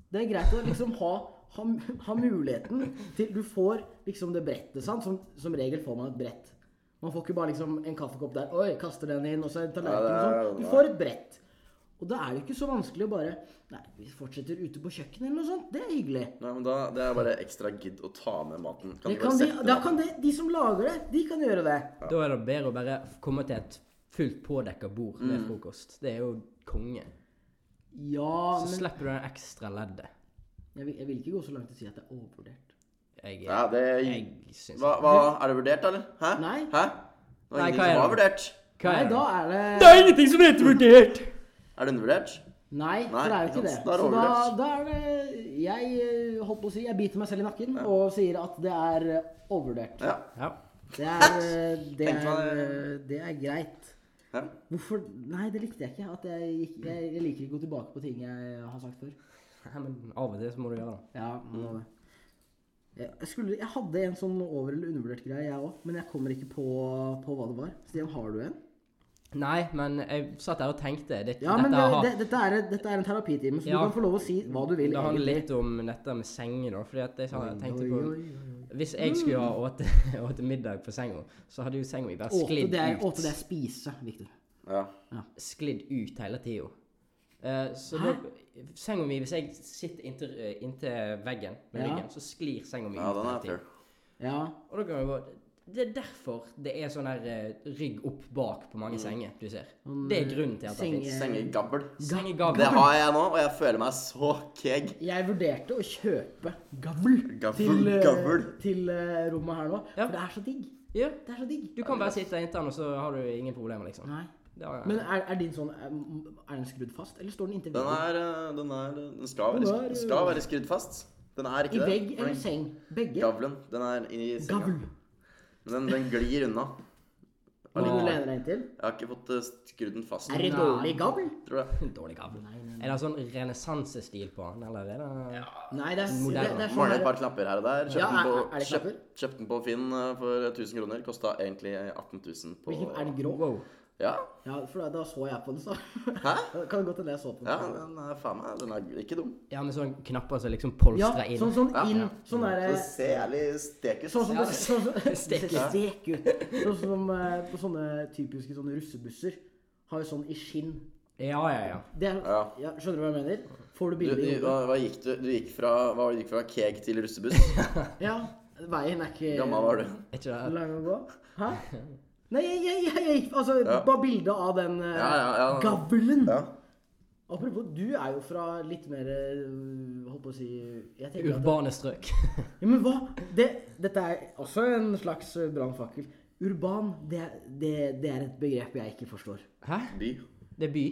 S6: Det er greit å liksom ha, ha, ha muligheten til Du får liksom det brettet, sant. Som, som regel får man et brett. Man får ikke bare liksom en kaffekopp der, oi, kaster den inn, og så en tallerken og
S8: Ja, det er-
S6: sånn. Du får et brett. Og da er det ikke så vanskelig å bare Nei, vi fortsetter ute på kjøkkenet eller noe sånt. Det er hyggelig.
S8: Nei, men da, Det er bare ekstra gidd å ta med maten. Kan
S6: Det
S8: du bare
S6: kan de,
S8: sette
S6: da
S8: maten?
S6: kan de, de som lager det, de kan gjøre det.
S7: da er det bedre å bare komme til et fullt pådekka bord med
S6: Mm.
S7: frokost. Det er jo konge.
S6: Ja,
S7: Så
S6: men
S7: slipper du det ekstra leddet.
S6: Jeg vil, jeg vil ikke gå så langt til å si at det er overvurdert.
S7: Jeg,
S8: Ja, det
S7: jeg syns
S8: hva, hva, Er det vurdert, eller? Hæ?
S6: Nei.
S8: Hæ? Det var
S7: Nei,
S8: ingenting
S7: hva er
S8: som var vurdert.
S7: Hva
S6: Nei,
S7: er
S6: da
S7: det?
S6: er det
S7: Det er ingenting som heter vurdert!
S8: Er det undervurdert?
S6: Nei,
S8: Nei,
S6: for det er jo
S8: ikke
S6: ikke det.
S8: sant. Da er det
S6: Så da,
S8: overvurdert.
S6: da er det Jeg eh, holdt på å si Jeg biter meg selv i nakken og sier at det er eh, overvurdert.
S8: Ja.
S7: Ja.
S6: Det er, eh, det er,
S8: Tenkte meg
S6: eh, det er greit.
S8: ja.
S6: Hvorfor Nei, det likte jeg ikke. At jeg, gikk, jeg, jeg liker ikke å gå tilbake på ting jeg har sagt før.
S7: Nei, men av og til så må du gjøre det.
S6: Ja, må
S8: Mm.
S6: det. Jeg, jeg skulle, jeg hadde en sånn over- eller undervurdert greie, jeg òg, men jeg kommer ikke på, på hva det var. Stian, har du en?
S7: Nei, men jeg satt der og tenkte. Det,
S6: Ja,
S7: dette
S6: men det,
S7: har-
S6: det, dette, er, dette er en terapitime, så
S7: Ja.
S6: du kan få lov å si hva du vil.
S7: Det handler
S6: egentlig.
S7: litt om dette med senger, da. Fordi at jeg, sa- jeg tenkte
S6: oi,
S7: på
S6: oi, oi, Mm.
S7: Hvis jeg skulle ha åte- åte middag på senga, så hadde jo senga mi bare
S6: Åte,
S7: sklidd
S6: det er, åte, det
S7: ut.
S6: er spise, Victor.
S8: ja.
S7: Sklidd ut hele tida. Eh, så da, senga mi, hvis jeg sitter inntil, eh, inntil veggen med
S6: Ja.
S7: ryggen, så sklir senga mi
S8: ja,
S7: ut
S8: den
S7: hele
S8: er fair.
S7: tiden.
S6: Ja.
S7: Og da kan jeg gå Det er derfor det er sånn her eh, rygg opp bak på mange senger du ser. Det er grunnen til at det
S6: senge-
S7: fins.
S8: Sengegabbel.
S7: Sengegavl.
S8: Det har jeg nå, og jeg føler meg så keeg.
S6: Jeg vurderte å kjøpe gavl,
S8: Gavl,
S6: til, eh,
S8: gavl.
S6: til eh, rommet her nå.
S7: Ja.
S6: For det er så digg.
S7: Ja.
S6: Det er så digg.
S7: Du kan bare sitte inntil den, og så har du ingen problemer, liksom.
S6: Nei.
S7: Det har jeg.
S6: Men er, er din sånn Er er den skrudd fast, eller står den inntil
S8: Den
S6: veggen?
S8: er eh, Den, er, den skal
S6: Den
S8: være,
S6: er-
S8: sk- skal være skrudd fast. Den er
S6: I
S8: ikke det.
S6: vegg
S8: for den
S6: eller seng? Begge.
S8: Gavlen. Den er i senga.
S6: Gavl.
S8: Men den, den glir unna.
S6: Hva du lener deg inntil?
S8: Jeg har ikke fått eh, skrudd den fast.
S6: Er det
S7: Nei.
S6: dårlig gavl?
S8: tror jeg.
S7: Dårlig gavl. Er det sånn renessansestil på han, eller er det
S6: Nei, det er, det,
S7: Moderne.
S6: det er sånn
S8: Mangler et
S6: her,
S8: par knapper her og der.
S6: Ja,
S8: Kjøpt
S6: er-
S8: den
S6: er
S8: på,
S6: det
S8: kjøpt,
S6: knapper?
S8: kjøpt den på Finn eh, for 1000 kroner. Kosta egentlig 18 000 på
S6: Hvilken er den grå?
S7: Wow.
S8: Ja,
S6: Ja, for da, da så jeg på den, så.
S8: Hæ?
S6: Kan godt hende jeg så på den.
S8: ja, den er faen meg Den er ikke dum.
S7: Ja, med sånne knapper som liksom polstrer inn.
S6: sånn sånn inn. Sånn
S8: Så
S6: derre
S8: det ser jævlig stek ut.
S6: Sånn som det sånn, som- det ser
S7: Stek ut.
S6: stek ut. Sånn som eh, på sånne typiske sånne russebusser. Har jo sånn i skinn.
S7: Ja, ja, ja.
S6: Det er, ja.
S8: Ja.
S6: skjønner du hva jeg mener? Får du
S8: Du,
S6: bildet
S8: du,
S6: i
S8: hva,
S6: hodet?
S8: hva gikk du? Du gikk fra, hva, var det du gikk fra keg til russebuss?
S6: Ja. Veien er ikke
S8: Gamma var du.
S7: Er ikke det
S6: lang å gå. Hæ? Nei, jeg, jeg, jeg, jeg gikk Altså,
S8: Ja.
S6: bare bildet av den eh,
S8: Ja, ja, ja.
S6: gavlen.
S8: Ja.
S6: Apropos, du er jo fra litt mer eh, Holdt på å si jeg tenker at-
S7: urbane strøk?
S6: Ja, men hva? Det, dette er også en slags eh, brannfakkel. Urban, det, det, det er et begrep jeg ikke forstår.
S7: Hæ?
S8: By.
S7: Det er by?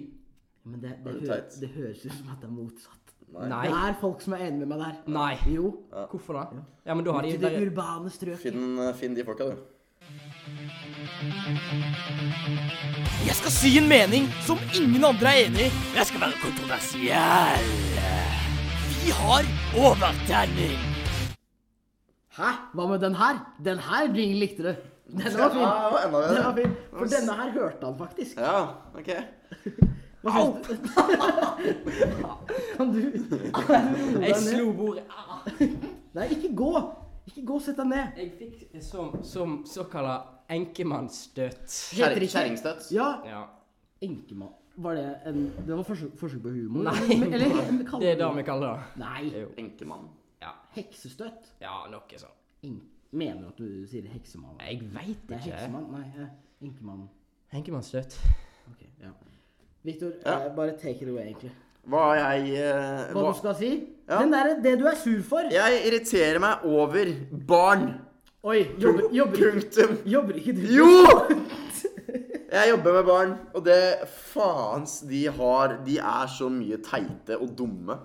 S6: Men det, det,
S8: Er det
S6: hø
S8: teit?
S6: det høres ut som at det er motsatt.
S7: Nei.
S6: Det er folk som er enig med meg der.
S7: Nei.
S6: Jo.
S7: Hvorfor da? Ja, men da har de
S6: Til
S7: jo
S6: det
S7: bare
S6: urbane strøk.
S8: Finn, eh, finn de folka, du.
S9: Jeg skal si en mening som ingen andre er enig i. Jeg skal være kontroversiell. Vi har overtenning.
S6: Hæ? Hva med den her? Den her jingle likte du. Den var fin.
S8: Ja, enda
S6: Den var
S8: bedre.
S6: fin. For denne her hørte han faktisk.
S8: Ja, ok.
S6: Hva syns du? Kan du
S7: Jeg slo bordet. Ah,
S6: Nei, ikke gå. Ikke gå, sett deg ned.
S7: Jeg fikk som, som såkalla enkemannsstøt.
S8: Kjer-
S6: riktig.
S8: Kjerringstøt.
S6: Ja.
S7: Ja.
S6: Enkemann. Var det en Det var forsøk, forsøk på humor?
S7: Nei,
S6: Eller- eller- eller kaller
S7: det er det
S6: du-
S7: vi kaller det.
S6: Nei.
S8: Enkemann.
S6: Heksestøtt?
S7: Ja, sånn. noe sånt.
S6: En- Mener du at du sier heksemann?
S7: Jeg veit
S6: Det er
S7: ikke.
S6: heksemann? Nei, eh, enkemann.
S7: Enkemannsstøt.
S6: Ok, ja. Victor,
S8: Ja.
S6: eh, bare take it away, egentlig.
S8: Hva har jeg eh,
S6: Hva
S8: hva?
S6: du skal si?
S8: Ja.
S6: Den der, det du er sur for
S8: Jeg irriterer meg over barn.
S6: Oi, jobber, jobber, ikke-
S8: Punktum.
S6: jobber ikke du
S8: Jo! Jeg jobber med barn, og det faens de har De er så mye teite og dumme.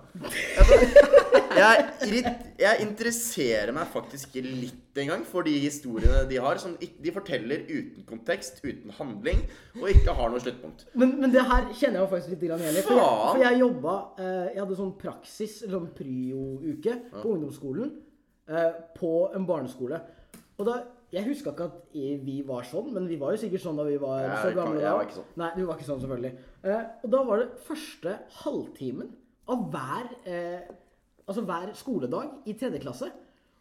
S8: Jeg, irrit, jeg interesserer meg faktisk ikke litt engang for de historiene de har. Som ikk- de forteller uten kontekst, uten handling, og ikke har noe sluttpunkt.
S6: Men, men det her kjenner jeg jo faktisk litt grann igjen i. For, jeg-
S8: Faen!
S6: for jeg jobba eh, Jeg hadde sånn praksis, eller sånn prio-uke, på ungdomsskolen. Eh, på en barneskole. Og da Jeg huska ikke at i- vi var sånn, men vi var jo sikkert sånn da vi var
S8: Jeg
S6: så
S8: kan-
S6: gamle.
S8: jeg
S6: da.
S8: var ikke sånn.
S6: Nei, du var ikke sånn, selvfølgelig. Eh, og da var det første halvtimen av hver eh, Altså hver skoledag i tredje klasse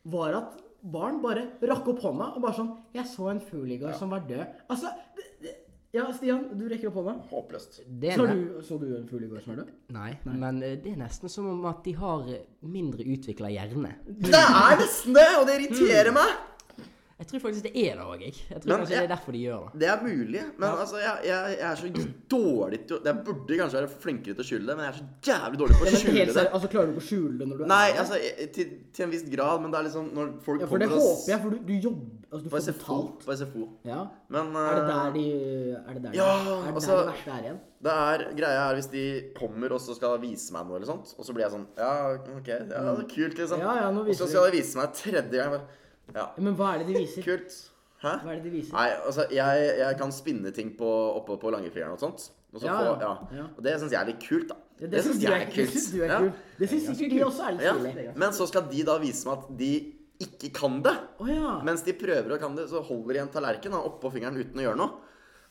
S6: var at barn bare rakk opp hånda og bare sånn 'Jeg så en fugl i går som var død'. Altså det- det- Ja, Stian, du rekker opp hånda.
S8: Håpløst.
S7: Det er
S6: Så
S7: ne-
S6: du, så du en fugl i går som er død?
S7: Nei, men eh, det er nesten som om at de har eh, mindre utvikla hjerne.
S8: Det er nesten det, og det irriterer
S6: Mm.
S8: meg!
S7: Jeg tror faktisk det er det òg, jeg. Jeg tror
S8: Men
S7: kanskje det
S8: jeg-
S7: er derfor de gjør det.
S8: Det er mulig, men altså, jeg, jeg, jeg er så dårlig til å Jeg burde kanskje være flinkere til å skjule det, men jeg er så jævlig dårlig
S6: Ja,
S8: på å
S6: men helt
S8: skjule det.
S6: seriøst, altså Klarer du ikke å skjule det når du
S8: Nei,
S6: er der?
S8: altså, jeg- til, til en viss grad, men det er liksom når folk
S6: ja, For det
S8: kommer og s-
S6: håper jeg, for du, du jobber altså, Du
S8: på
S6: får
S8: SFO.
S6: betalt.
S8: På SFO.
S6: Ja.
S8: Men
S6: Er det
S8: eh,
S6: der de Er det der, de-
S8: Ja,
S6: er det, der
S8: altså-
S6: det verste er igjen?
S8: det er, greia er hvis de kommer og så skal vise meg noe eller sånt, og så blir jeg sånn Ja, ok, ja, det er kult, liksom.
S6: Mm. Ja, ja, nå
S8: og
S6: viser
S8: så
S6: du.
S8: skal de vise meg tredje gang. bare, Ja,
S6: Ja, Men hva er det de viser?
S8: kult. Hæ?
S6: Hva er det de viser?
S8: Nei, altså, jeg, jeg kan spinne ting på, oppe på langefjæren og sånt. Og, så
S6: Ja,
S8: få,
S6: ja,
S8: ja.
S6: ja.
S8: og det syns jeg er litt kult, da.
S6: Ja, det syns
S8: synes
S6: du er kult. Det syns du er
S8: Ja.
S6: kult. Det syns sikkert de også er litt
S8: Ja.
S6: stilig.
S8: Men så skal de da vise meg at de ikke kan det.
S6: Å ja.
S8: Mens de prøver å kan det, så holder de en tallerken da, oppå fingeren uten å gjøre noe.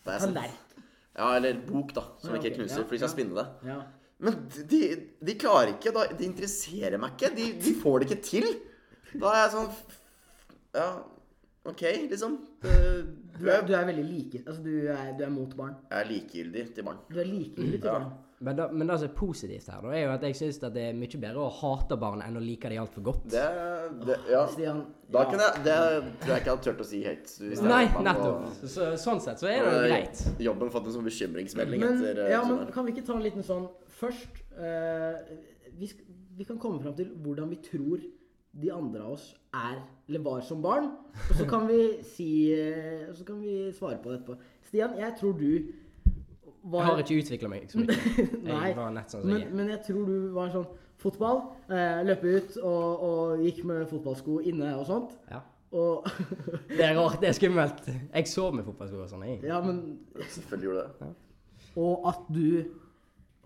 S8: Da er jeg sånn-
S6: Tallerken.
S8: Ja, eller bok, da, som
S6: Ja,
S8: ikke
S6: ok.
S8: knuser,
S6: Ja,
S8: for de
S6: ja.
S8: skal spinne det.
S6: Ja.
S8: Men de, de klarer ikke. Da, de interesserer meg ikke. De, de får det ikke til. Da er jeg sånn Ja, OK, liksom. Eh,
S6: Du, er, du er veldig like Altså, du er, du er mot barn.
S8: Jeg er likegyldig til barn.
S6: Du er likegyldig til
S8: Ja.
S6: barn.
S7: Men, da, men det som er positivt her, da, er jo at jeg syns det er mye bedre å hate barn enn å like dem altfor godt.
S8: Det, det Ja.
S6: Stian
S8: Da kunne jeg Det tror jeg ikke jeg hadde turt å si helt. hvis jeg
S7: Nei,
S8: var barn,
S7: nettopp.
S8: og-
S7: Så, så, sånn sett så er det
S8: og
S7: jo greit.
S8: Jobben fått en sånn bekymringsmelding
S6: Men,
S8: etter eh,
S6: ja, men
S8: sommeren.
S6: kan vi ikke ta en liten sånn først eh, vi, sk- vi kan komme fram til hvordan vi tror de andre av oss er eller var som barn. Og så kan vi si eh, og Så kan vi svare på det etterpå. Stian, jeg tror du
S7: Jeg
S6: var
S7: har ikke utvikla meg så mye.
S6: Nei,
S7: Jeg var nett sånn som
S6: men,
S7: jeg er.
S6: men jeg tror du var sånn fotball. Eh, løpe ut og, og gikk med fotballsko inne og sånt.
S7: Ja.
S6: Og
S7: Det er rart. Det er skummelt. Jeg sov med fotballsko og sånn, jeg.
S6: Ja, men
S8: Selvfølgelig gjorde det det.
S6: Og at du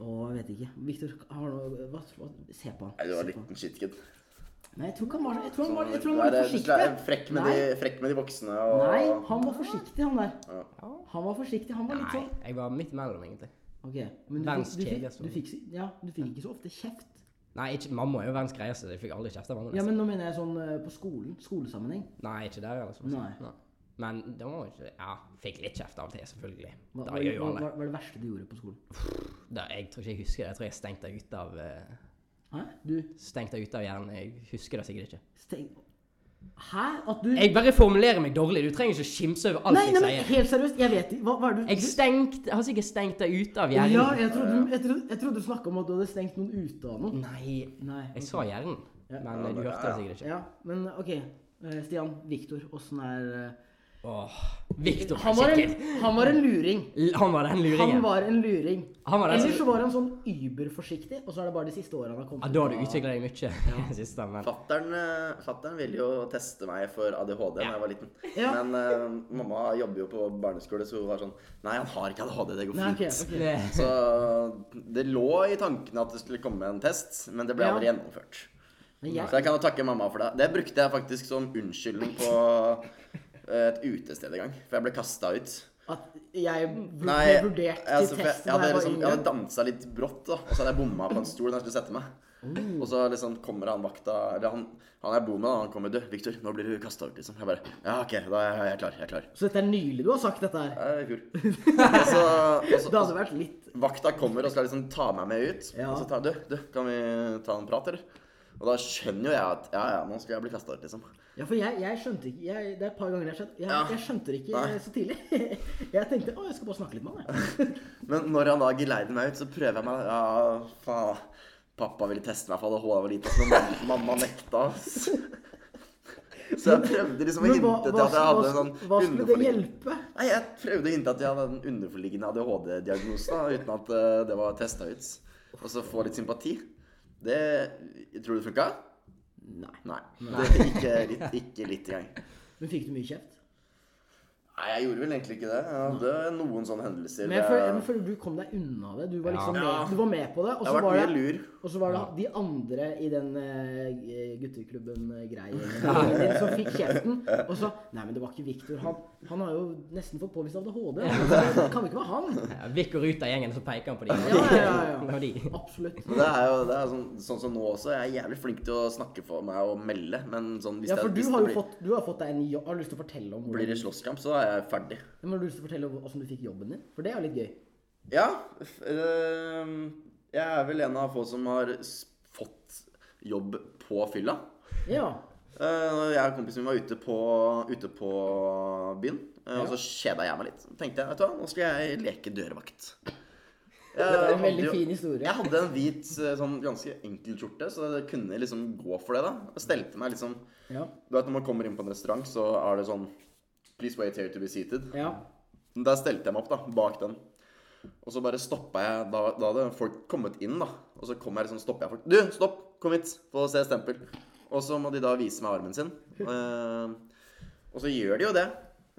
S6: Å, jeg vet ikke. Victor, har noe hva, hva, Se på han.
S8: Nei, du
S6: se
S8: var en
S6: på han.
S8: liten shitkid.
S6: Nei, jeg tror ikke han var Jeg tror han var, jeg tror han
S8: Du
S6: var
S8: er,
S6: litt
S8: du er
S6: forsiktig.
S8: frekk med,
S6: Nei.
S8: de, frekk med de voksne og
S6: Nei, han var forsiktig, han der.
S8: Ja.
S6: Han var forsiktig. Han var litt
S7: Nei,
S6: sånn
S7: jeg var midt imellom, egentlig.
S6: OK. Men du,
S7: Verdens
S6: fikk- du, fikk,
S7: kjedeligste.
S6: du, fikk, si- ja, du fikk ikke så ofte kjeft.
S7: altså. Nei, ikke, mamma er jo verdens greieste. Jeg fikk aldri kjeft av mamma.
S6: Ja,
S7: nesten.
S6: men nå mener jeg sånn eh, på skolen. Skolesammenheng.
S7: Nei, ikke der, altså.
S6: Nei.
S7: Men det var jo ikke Ja, fikk litt kjeft av og til, selvfølgelig.
S6: Hva, hva,
S7: Det gjør jo
S6: hva,
S7: alle.
S6: hva er det verste du gjorde på skolen?
S7: Da, jeg tror ikke jeg husker det. Jeg tror jeg stengte det ut av eh,
S6: Hæ? Du
S7: Stengte det ut av hjernen. Jeg husker det sikkert ikke.
S6: Steng... Hæ? At du
S7: Jeg bare formulerer meg dårlig. Du trenger ikke å kimse over alt
S6: Nei, nei,
S7: jeg
S6: men
S7: sier.
S6: helt seriøst, jeg vet ikke. Hva, hva er det du
S7: Jeg stengt, har sikkert stengt det ut av hjernen.
S6: Ja, jeg trodde, jeg trodde, jeg trodde du snakka om at du hadde stengt noen ute av noe.
S7: Nei,
S6: Nei.
S7: jeg sa hjernen. Men eh, du hørte det sikkert ikke.
S6: Ja, men OK. eh, Stian, Viktor, åssen er eh,
S7: Åh, Victor
S6: han
S7: var
S6: var, en,
S7: sikkert
S6: han var en luring.
S7: L- Han var den luringen.
S6: Han var en luring.
S7: Han var den som-
S6: Ellers så var han sånn überforsiktig, og så er det bare de siste åra han har kommet
S7: Ja, da har du
S6: ut av-
S7: utvikla deg mye i det siste, men
S8: Fatteren, eh, fatteren ville jo teste meg for ADHD da jeg var liten.
S6: Ja.
S8: Men eh, mamma jobber jo på barneskole, så hun var sånn Nei, han har ikke ADHD, det går
S6: Nei, ok,
S8: fint.
S6: ok.
S7: det,
S8: Så det lå i tankene at det skulle komme en test, men det ble
S6: Ja.
S8: aldri gjennomført.
S6: Men
S8: Så
S6: jeg,
S8: jeg kan jo takke mamma for det. Det brukte jeg faktisk som unnskyldning på eh, et utested en gang, for jeg ble kasta ut.
S6: at jeg vur-
S8: Nei,
S6: ble
S8: jeg,
S6: vurdert til
S8: altså, for jeg,
S6: test
S8: jeg
S6: da
S8: hadde,
S6: jeg var
S8: liksom, jeg hadde
S6: yngre.
S8: dansa litt brått, da, og så hadde jeg bomma på en stol da jeg skulle sette meg.
S6: Oh.
S8: Og så liksom kommer han vakta Eller han, han jeg bor med, da, han kommer. 'Du, Victor, nå blir du kasta ut', liksom. Jeg bare 'Ja, OK, da er jeg, jeg er klar. Jeg er klar'.
S6: Så dette er nylig du har sagt dette her.
S8: Jeg er kul. Og så, og så,
S6: Det hadde vært litt
S8: Vakta kommer og skal liksom ta meg med ut.
S6: Ja.
S8: Og så tar du, du, kan vi ta en prat, eller? Og da skjønner jo jeg at ja, ja, nå skal jeg bli kasta ut, liksom.
S6: Ja, for jeg, jeg skjønte ikke jeg, Det er et par ganger jeg har skjønt Jeg,
S8: Ja.
S6: jeg skjønte det ikke
S8: Nei.
S6: så tidlig. Jeg tenkte å, jeg skal bare snakke litt med han, jeg.
S8: Men når han da geleider meg ut, så prøver jeg meg. Ja, faen. Pappa ville teste meg for ADHD da jeg var liten, men mamma, mamma nekta. ass. Så jeg prøvde liksom å
S6: Men hva,
S8: hinte til
S6: hva,
S8: at jeg hadde en
S6: hva,
S8: sånn
S6: hva skulle det
S8: underforliggende
S6: hjelpe?
S8: Nei, jeg prøvde å hinte at jeg hadde en underforliggende ADHD-diagnose, da, uten at eh, det var testa ut. Og så få litt sympati. Det Tror du det funka?
S6: Nei.
S8: Nei. Det, ikke, litt, ikke litt engang.
S6: Men fikk du mye kjeft?
S8: Nei, jeg gjorde vel egentlig ikke det. Jeg hadde noen sånne hendelser.
S6: Men jeg føler,
S8: eh,
S6: jeg føler du kom deg unna det. Du var liksom
S8: Ja.
S6: med, du var med på det. Og
S8: Det
S6: så
S8: har
S6: var
S8: vært
S6: det,
S8: mye lur.
S6: og så var det de andre i den eh, gutteklubben-greia som fikk kjeften. Og så Nei, men det var ikke Viktor. Han, han har jo nesten fått påvist ADHD. Det kan jo ikke være han.
S7: Ja, Vic går ut av gjengen, så peker han på dem.
S6: Ja, ja, ja, ja.
S7: Og de.
S6: Absolutt.
S8: Men Det er jo det er sånn, sånn som nå også. Jeg er jævlig flink til å snakke for meg og melde. Men sånn, hvis,
S6: Ja, for
S8: det,
S6: du
S8: hvis
S6: har jo
S8: det blir,
S6: fått, du har fått deg en jobb. Har du lyst til å fortelle om
S8: blir det
S6: hvordan,
S8: slåsskamp, så er jeg ferdig.
S6: Ja, men har du lyst til å fortelle om hvordan du fikk jobben din? For det er jo litt gøy.
S8: Ja. f- øhm, jeg er vel en av få som har s- fått jobb på fylla.
S6: Ja.
S8: Uh, jeg og kompisen min var ute på, ute på byen, eh, og så kjeda jeg meg litt. Så tenkte jeg, vet du hva, nå skal jeg leke dørvakt. Jeg
S6: Det er en
S8: hadde
S6: veldig
S8: jo-
S6: fin historie.
S8: Jeg hadde en hvit, eh, sånn ganske enkel skjorte, så jeg kunne liksom gå for det, da. Jeg stelte meg liksom
S6: Ja.
S8: Du vet når man kommer inn på en restaurant, så er det sånn Please wait here to be seated.
S6: ja.
S8: Der stelte jeg meg opp, da, bak den. Og så bare stoppa jeg Da, da hadde folk kommet inn, da. Og så kom jeg liksom, stoppa jeg folk. Du, stopp! Kom hit! Få se stempel. Og så må de da vise meg armen sin. Eh, og så gjør de jo det.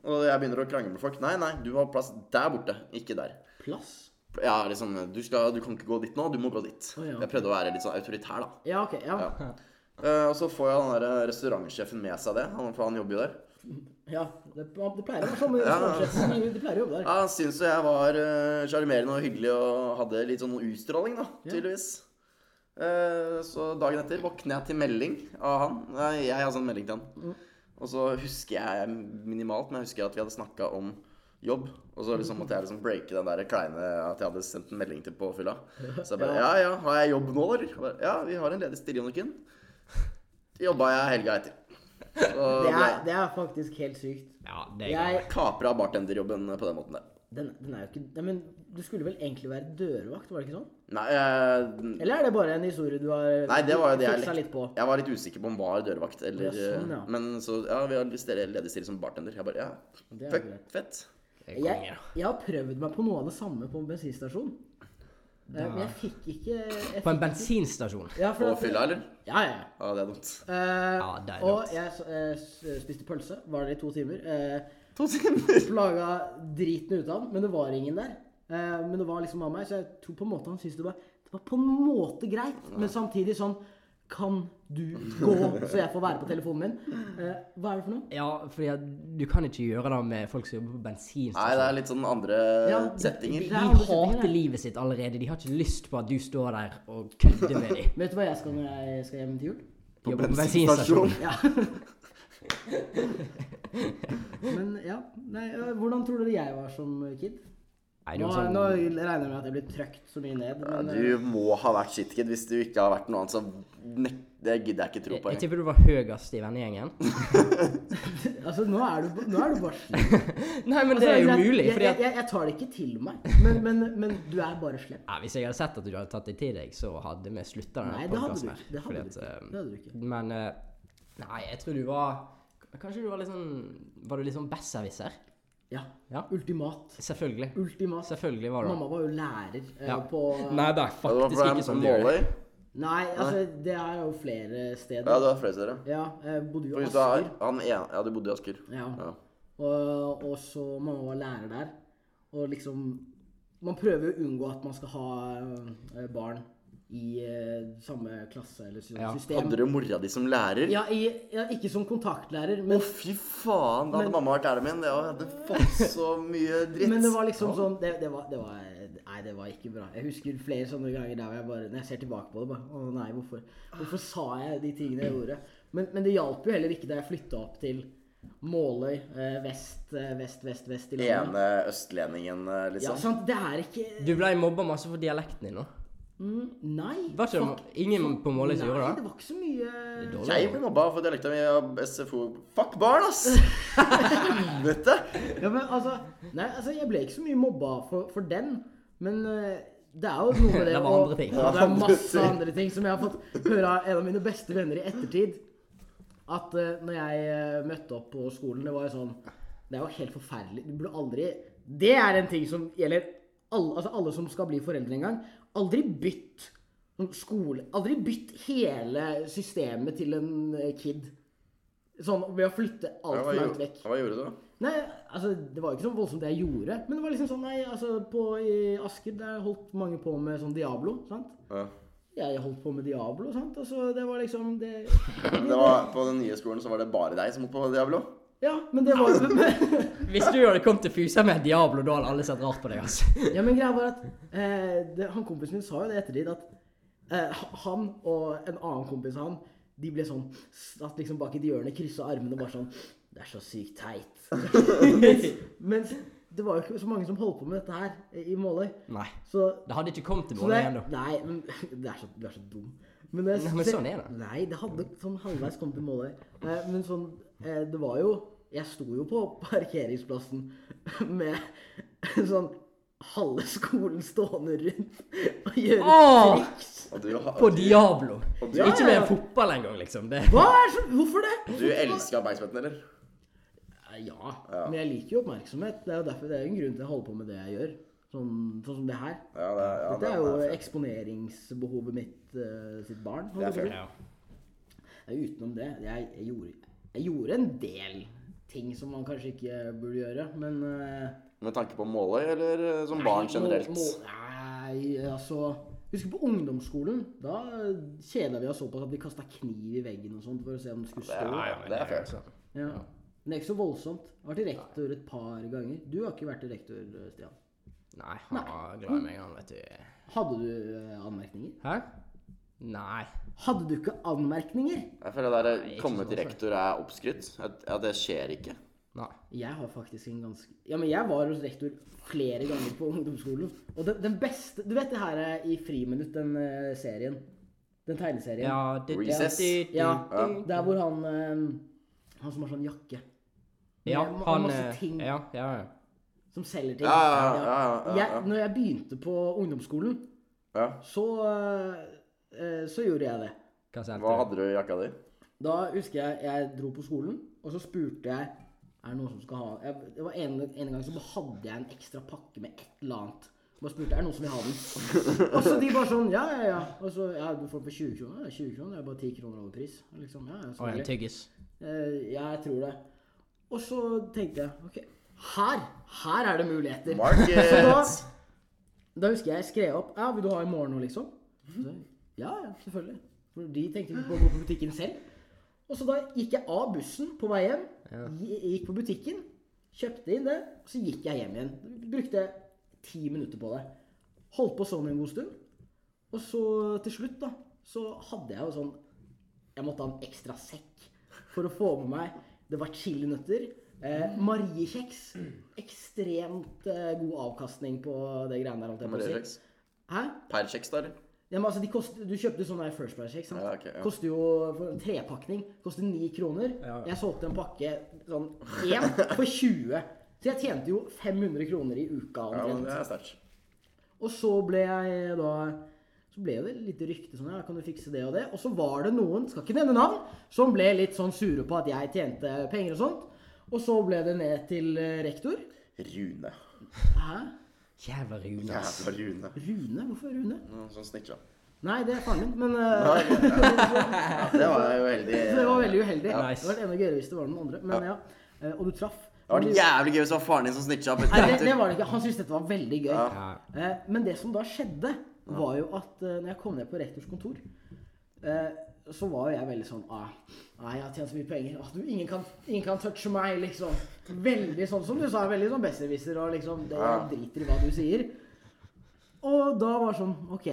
S8: Og jeg begynner å krangle med folk. Nei, nei, du har plass der borte, ikke der.
S6: Plass?
S8: Jeg er liksom Du, skal, du kan ikke gå dit nå, du må gå dit.
S6: Å, ja.
S8: Jeg prøvde å være litt sånn autoritær, da.
S6: Ja, OK. Ja.
S8: Ja. Eh, og så får jo han der restaurantsjefen med seg det, han, for han jobber jo der.
S6: ja. Det, det pleier å være sånn. men De pleier å jobbe der.
S8: Ja, han syntes jo jeg var eh, sjarmerende og hyggelig og hadde litt sånn utstråling, da, tydeligvis. Eh, så dagen etter våkner jeg til melding av han. Nei, jeg har sånn melding til
S6: Mm.
S8: han. Og så husker jeg minimalt, men jeg husker at vi hadde snakka om jobb. Og så liksom måtte jeg liksom breake den der kleine at jeg hadde sendt en melding til på fylla. Så jeg bare Ja, ja, har jeg jobb nå, eller? Jeg Bare, ja, vi har en ledig stilling, Jonoken. Jobba jeg helga etter. Så
S6: Det er,
S8: ble
S6: det er faktisk helt sykt.
S7: Ja, det er
S6: Jeg,
S8: jeg kapra bartenderjobben på den måten der.
S6: den, den er jo ikke Nei, men du skulle vel egentlig være dørvakt, var det ikke sånn?
S8: Nei, eh, jeg
S6: Eller er det bare en historie du har
S8: Nei, det var jo det jeg
S6: fiksa litt på?
S8: Jeg var litt usikker på om var dørvakt eller
S6: Ja, sånn, ja.
S8: Men så Ja, vi har lyst til å lede stille som bartender. Jeg bare Ja,
S6: Det er
S8: fuck,
S6: greit.
S8: fett.
S6: Jeg, jeg har prøvd meg på noe av det samme på en bensinstasjon. Eh, Men jeg fikk ikke jeg
S7: På en
S6: fikk-
S7: bensinstasjon.
S6: ja,
S8: På
S6: for at-
S8: fylla, eller?
S6: Ja, ja. ja.
S8: Ja, det er dumt.
S6: Eh,
S7: Ja, det er
S6: og
S7: rått.
S6: jeg s- eh, s- spiste pølse. Var der i to timer. Eh,
S8: To timer.
S6: Plaga driten ut av han, men det var ingen der. Eh, men det var liksom av meg, så jeg tror på en måte han syntes det var, det var på en måte greit. Men samtidig sånn Kan du gå, så jeg får være på telefonen min? Eh, hva er det for noe?
S7: Ja, fordi at du kan ikke gjøre det med folk som jobber på
S8: Nei, det er
S7: bensinstasjon.
S8: litt sånn andre
S6: Ja,
S8: settinger.
S6: det er
S7: De
S6: andre setninger,
S7: hater
S6: det.
S7: livet sitt allerede. De har ikke lyst på at du står der og kødder med dem.
S6: Vet du hva jeg skal når jeg skal hjem til jul?
S7: Jobber på bensinstasjon.
S6: Men ja, nei, eh, Hvordan tror dere jeg var som kid?
S7: Nei, det
S6: Nå,
S7: er jo sånn-
S6: nå regner jeg med at jeg blir trøkt så mye ned.
S8: Ja,
S6: Men, eh,
S8: Du må ha vært shitkid. Hvis du ikke har vært noe annet, så nek det gidder jeg ikke tro
S7: Jeg,
S8: på.
S7: jeg
S8: engang.
S7: tipper du var høyest i vennegjengen.
S6: altså, nå er du, nå er du bare slem.
S7: Nei, men det
S6: Altså,
S7: er jo
S6: jeg-
S7: mulig,
S6: Jeg,
S7: fordi
S6: jeg,
S7: at
S6: jeg, jeg tar det ikke til meg, men, men, men du er bare slem.
S7: ja, Hvis jeg hadde sett at du hadde tatt det til deg, så hadde vi slutta
S6: Nei,
S7: denne
S6: det hadde du
S7: podkasten her.
S6: ikke. Det hadde du
S7: fordi at,
S6: ikke.
S7: eh,
S6: Det hadde du ikke.
S7: Men eh, Nei, jeg tror du var Kanskje du var litt sånn Var du litt sånn besserwisser?
S6: Ja.
S7: Ja.
S6: Ultimat.
S7: Selvfølgelig.
S6: Ultimat.
S7: Selvfølgelig var du
S6: Mamma var jo lærer eh,
S7: Ja.
S6: på
S7: Nei, det er
S8: Ja, det
S7: faktisk
S8: var for
S7: ikke
S8: dem
S7: sånn
S8: som
S7: du gjør det.
S8: måler.
S6: Nei, altså, det er jo flere
S8: Ja,
S6: steder.
S8: det var flere steder. ja.
S6: Ja, jeg bodde jo
S8: For
S6: i
S8: hvis du har
S6: Asker.
S8: han ene Ja, du bodde i Asker.
S6: Ja.
S8: Ja.
S6: Og, og så mamma var lærer der. Og liksom Man prøver å unngå at man skal ha eh, barn i eh, samme klasse eller sånn
S7: Ja.
S6: system.
S8: Hadde du mora di som lærer?
S6: Ja, i, ja, ikke som kontaktlærer,
S8: Å,
S6: men
S8: fy faen! Da hadde mamma vært læreren min. Det hadde fått så mye dritt.
S6: Men det var liksom sånn det, det, var, det var Nei, det var ikke bra. Jeg husker flere sånne ganger der hvor jeg bare Når jeg ser tilbake på det, bare Å nei, hvorfor, hvorfor sa jeg de tingene jeg gjorde? Men, men det hjalp jo heller ikke da jeg flytta opp til Måløy eh, vest, eh, vest, vest, vest i landet.
S8: ene østlendingen, eh,
S6: Ja,
S8: liksom.
S6: sant? Det er ikke
S7: Du ble mobba masse for dialekten din nå.
S6: Nei.
S7: Var ikke det ingen på Måløy som
S6: nei,
S7: gjorde
S6: det
S7: det?
S6: var ikke så mye
S7: Dårlig.
S8: jeg ble mobba for dialekta mi og SFO. Fuck barn, ass! Helvete!
S6: Ja, men altså Nei, altså, jeg ble ikke så mye mobba for, for den, men eh, det er jo noe med det
S7: Det var
S6: å-
S7: andre ting.
S6: Ja, det er masse andre ting som jeg har fått høre av en av mine beste venner i ettertid. At eh, når jeg eh, møtte opp på skolen, det var jo sånn Det er jo helt forferdelig. Du burde aldri Det er en ting som gjelder alle, altså alle som skal bli foreldre en gang. Aldri bytt sånn skole Aldri bytt hele systemet til en eh, kid. Sånn ved å flytte
S8: Ja,
S6: alt
S8: hva,
S6: for langt
S8: gjorde,
S6: vekk.
S8: hva gjorde du da?
S6: Nei, altså, det var jo ikke sånn voldsomt det jeg gjorde. Men det var liksom sånn, nei, altså, på, i Asker der holdt mange på med sånn Diablo, sant?
S8: Ja.
S6: Jeg holdt på med Diablo, sant? Altså, det var liksom det
S8: Det var, på den nye skolen så var det bare deg som holdt på med Diablo.
S6: Ja, men det var jo
S7: Hvis du hadde kommet til Fusa med en Diablo, da hadde alle sett rart på deg. altså.
S6: Ja, men greia var at eh, det, han kompisen min sa jo det etter dit, at eh, ha- han og en annen kompis av han, de ble sånn satt liksom bak i et hjørne, kryssa armene og bare sånn Det er så sykt teit. mens, mens det var jo ikke så mange som holdt på med dette her eh, i Måløy.
S7: Nei.
S6: Så
S7: Det hadde ikke kommet til
S6: Så
S7: målet
S6: det,
S7: igjen, da.
S6: nei, men det er så, du er så dum. Men, det-
S7: Nei, men sånn er det.
S6: Nei, det hadde sånn halvveis kommet til målet. Eh, Men sånn, eh, det var jo Jeg sto jo på parkeringsplassen med sånn halve skolen stående rundt og gjøre
S7: Åh!
S6: triks.
S8: Og du, ha-
S7: På Diablo.
S8: du- Ja,
S7: Ikke med en fotball engang, liksom. Det.
S6: Hva er så, hvorfor det?
S8: du elsker oppmerksomheten, eller?
S6: Eh, Ja, men jeg liker jo oppmerksomhet. Det er jo derfor det er jo en grunn til at jeg holder på med det jeg gjør. Sånn, sånn som det her.
S8: Ja, det, er- ja,
S6: Dette er jo
S8: det er-
S6: eksponeringsbehovet mitt eh, sitt barn.
S8: Det er
S6: holdt jeg på å si.
S8: fair.
S6: Nei, Utenom det jeg, jeg, gjorde, jeg gjorde en del ting som man kanskje ikke burde gjøre, men eh,
S8: Med tanke på Måløy eller eh, som barn
S6: må-
S8: generelt?
S6: må- Nei, altså Husker på ungdomsskolen? Da kjeda vi oss såpass at vi kasta kniv i veggen og sånt for å se om den skulle stå.
S8: Ja, det er fair. altså.
S6: Ja. Men det er ikke så voldsomt. Jeg har vært rektor et par ganger. Du har ikke vært rektor, Stian.
S7: Nei, han var glad i meg, han, vet du.
S6: Hadde du eh, anmerkninger?
S7: Hæ? Nei.
S6: Hadde du ikke anmerkninger?
S8: Jeg føler det der komme til rektor er oppskrytt. At- Ja, det skjer ikke.
S7: Nei.
S6: Jeg har faktisk en ganske Ja, men jeg var hos rektor flere ganger på ungdomsskolen. Og den, den beste Du vet det her eh, i Friminutt, den eh, serien? Den tegneserien?
S7: Ja, det,
S8: Recess.
S6: Ja,
S8: Ja.
S6: Der hvor han eh, Han som har sånn jakke
S7: ja,
S6: Med ma-
S7: han
S6: masse
S7: eh,
S6: ting.
S7: Ja, ja, ja.
S6: som selger ting.
S8: Ja, ja, ja, ja, ja, ja.
S6: Jeg, når jeg begynte på ungdomsskolen,
S8: Ja.
S6: så eh, eh, Så gjorde jeg det.
S7: Hva sa
S8: Hva
S7: han?
S8: hadde du i jakka di?
S6: Da husker jeg jeg dro på skolen, og så spurte jeg Er det noen som skal ha jeg, Det var en, en gang så hadde jeg en ekstra pakke med et eller annet. Bare spurte er det noen som vil ha den. Og så de bare sånn Ja, ja, ja. Og så ja, du får den for 20 kroner. Ja, 20 kroner det er bare 10 kroner over pris. Liksom, ja, ja, så
S7: Og en
S6: hyggelig.
S7: tyggis.
S6: Eh, ja, jeg tror det. Og så tenkte jeg OK, her her er det muligheter. Så da,
S8: Market!
S6: da husker jeg jeg skrev opp Ja, vil du ha i morgen nå, liksom? Så, ja, ja, selvfølgelig. For de tenkte ikke på å gå på butikken selv. Og så da gikk jeg av bussen på vei hjem. gi- Gikk på butikken, kjøpte inn det, og så gikk jeg hjem igjen. Brukte ti minutter på det. Holdt på sånn en god stund. Og så til slutt, da, så hadde jeg jo sånn Jeg måtte ha en ekstra sekk for å få med meg Det var chilinøtter. Eh, Mariekjeks. Ekstremt eh, god avkastning på det greiene der. holdt jeg på å si.
S8: Mariekjeks.
S6: Hæ?
S8: Per kjeks, da, eller?
S6: Ja, men altså, de kost, du kjøpte sånn der First Price-sjekk, sant?
S8: Ja, ok, ja.
S6: Koster jo for en trepakning. Koster ni kroner.
S7: Ja.
S6: Jeg solgte en pakke sånn én for 20. Så jeg tjente jo 500 kroner i uka
S8: Ja, men
S6: omtrent.
S8: det er sterkt.
S6: Og så ble jeg da Så ble det litt rykte sånn, ja, kan du fikse det og det? Og så var det noen, skal ikke nevne navn, som ble litt sånn sure på at jeg tjente penger og sånt. Og så ble det ned til eh, rektor.
S8: Rune.
S6: Hæ?
S7: Jævla Rune. ass.
S8: Jævla Rune.
S6: Rune? Hvorfor Rune?
S8: Noen Sånn snitcha.
S6: Nei, det er faren min, men eh,
S8: Ja, det var jo heldig.
S6: Så det var veldig uheldig.
S7: Nice.
S6: Det var enda gøyere hvis det var noen andre. Men ja. Eh, Og du traff.
S8: Det var jævlig gøy hvis det var faren din som snitcha.
S6: Nei, det, det var det ikke. Han syntes dette var veldig gøy.
S8: Ja.
S6: Eh, Men det som da skjedde, var jo at eh, når jeg kom ned på rektors kontor, eh, så var jo jeg veldig sånn ah, Nei, jeg har tjent så mye penger. Ah, du, ingen, kan, ingen kan touche meg, liksom. Veldig sånn som du sa. Veldig sånn besserwisser og liksom det, Jeg driter i hva du sier. Og da var det sånn OK.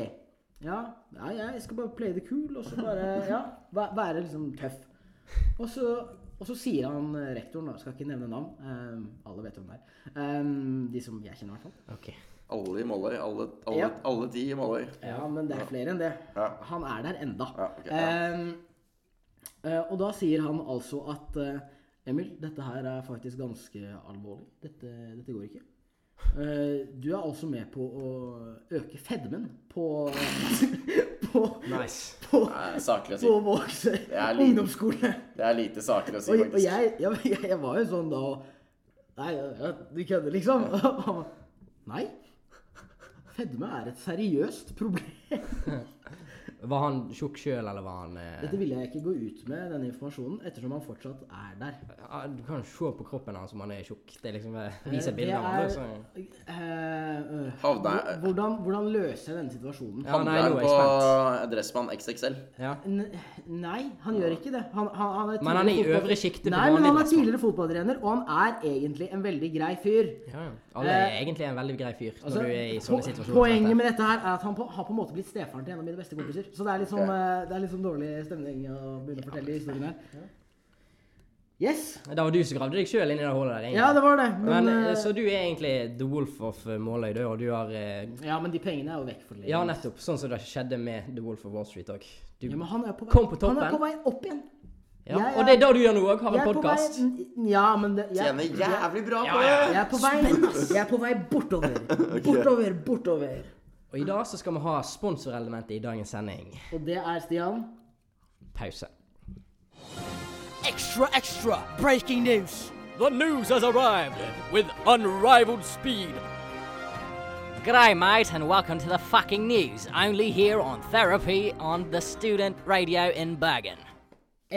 S6: Ja, nei, jeg skal bare play the cool, og så bare ja, væ- være liksom tøff. Og så, og så sier han eh, rektoren, da, skal ikke nevne navn, eh, alle vet hvem det er, eh, de som jeg kjenner i hvert fall.
S7: Ok.
S8: Alle i Måløy. Alle, alle,
S6: Ja.
S8: alle de i Måløy.
S6: Ja, men det er flere enn det.
S8: Ja.
S6: Han er der enda.
S8: Ja, ok, ja.
S6: Eh, eh, og da sier han altså at eh, Emil, dette her er faktisk ganske alvorlig. Dette, dette går ikke. Eh, du er altså med på å øke fedmen på, på på,
S7: Nice.
S6: på,
S8: Nei, Saklig å si.
S6: på Vågsøy
S8: er litt-
S6: ungdomsskole.
S8: Det er lite saklig å si,
S6: Og, og
S8: faktisk.
S6: jeg, jeg, jeg, jeg var jo sånn da og Nei, ja, du kødder, liksom? Og han ba, Nei. Fedme er et seriøst problem.
S7: Var han tjukk sjøl, eller var han eh,
S6: Dette ville jeg ikke gå ut med, denne informasjonen, ettersom han fortsatt er der.
S7: ja, Du kan jo se på kroppen hans om han er tjukk. Det er liksom eh,
S6: Eh,
S7: viser
S6: det
S7: bilder av
S6: er-
S7: han. altså. så-
S6: Eh, øh,
S8: Havna jeg-
S6: hvordan, hvordan løser jeg denne situasjonen?
S7: Ja, nei, nå
S8: Handler
S7: er
S8: på
S7: jeg spent.
S8: Dressmann XXL.
S7: Ja.
S6: N- Nei, han gjør ikke det. Han, han, han er
S7: Men han er i
S6: tidligere fotball-
S7: øvre sjiktet på
S6: Nei, men
S7: vanlig
S6: han er
S7: dressmann.
S6: tidligere fotballtrener, og han er egentlig en veldig grei fyr.
S7: Ja, ja. Alle er egentlig en veldig grei fyr
S6: Eh,
S7: når
S6: Altså,
S7: du er i
S6: po-
S7: sånne situasjoner. som
S6: Poenget
S7: dette.
S6: med dette her er at han på, har på en måte blitt stefaren til en av mine beste kompiser. Så det er litt sånn, eh, det er litt sånn dårlig stemning å begynne å fortelle historien her. Yes.
S7: Det var du som gravde deg sjøl inn i det hullet der. egentlig.
S6: Ja, det var det. Men,
S7: Men, eh,
S6: eh,
S7: så du er egentlig the wolf of eh, Måløy, du, og du har eh,
S6: ja, men de pengene er jo vekk for lenge.
S7: Ja, nettopp. Sånn som det skjedde med The Wolf of Wall Street òg. Du
S6: Ja, men han er på vei,
S7: Kom på toppen.
S6: Han er på vei opp igjen.
S7: Ja,
S6: jeg
S7: Og
S6: er-
S7: det er det du gjør nå òg? Har en
S6: Jeg er på vei-
S7: podkast?
S6: Ja, men det, jeg,
S8: Tjener jævlig bra på
S7: Ja, ja.
S8: det!
S6: Jeg er på vei, jeg er på vei bortover. Bortover, bortover.
S7: Og i dag så skal vi ha sponsorelementet i dagens sending.
S6: Og det er Stian.
S7: Pause.
S9: Extra, extra, breaking news. The news has arrived with unrivaled speed.
S10: G'day, mate, and welcome to the fucking news. Only here on Therapy on the Student Radio in Bergen.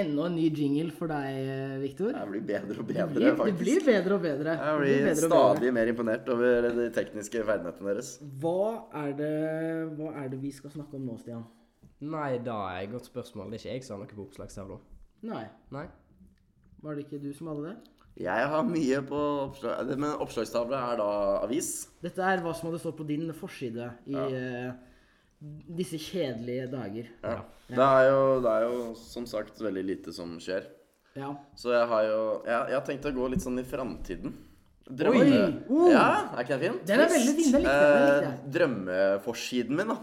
S6: Enda en ny jingle for deg, Viktor.
S8: Jeg blir bedre og bedre,
S6: Det
S8: faktisk.
S6: blir bedre og bedre.
S8: Jeg
S6: Det
S8: blir
S6: bedre og bedre.
S8: stadig mer imponert over de tekniske ferdighetene deres.
S6: Hva er, det, hva er det vi skal snakke om nå, Stian?
S7: Nei da, er et godt spørsmål. Det er ikke jeg som har noe på oppslagstavla.
S6: Nei,
S7: Nei?
S6: var det ikke du som hadde det?
S8: Jeg har mye på oppslag... Men oppslagstavle er da avis.
S6: Dette er hva som hadde stått på din forside i eh, disse kjedelige dager.
S8: Ja. Det, er jo, det er jo som sagt veldig lite som skjer.
S6: Ja.
S8: Så jeg har jo Jeg, jeg har tenkt å gå litt sånn i framtiden.
S6: Oi! Oh!
S8: Ja, er ikke den fin?
S6: Den er veldig fin, den likte jeg, den likte
S8: Eh, drømmeforsiden min, da.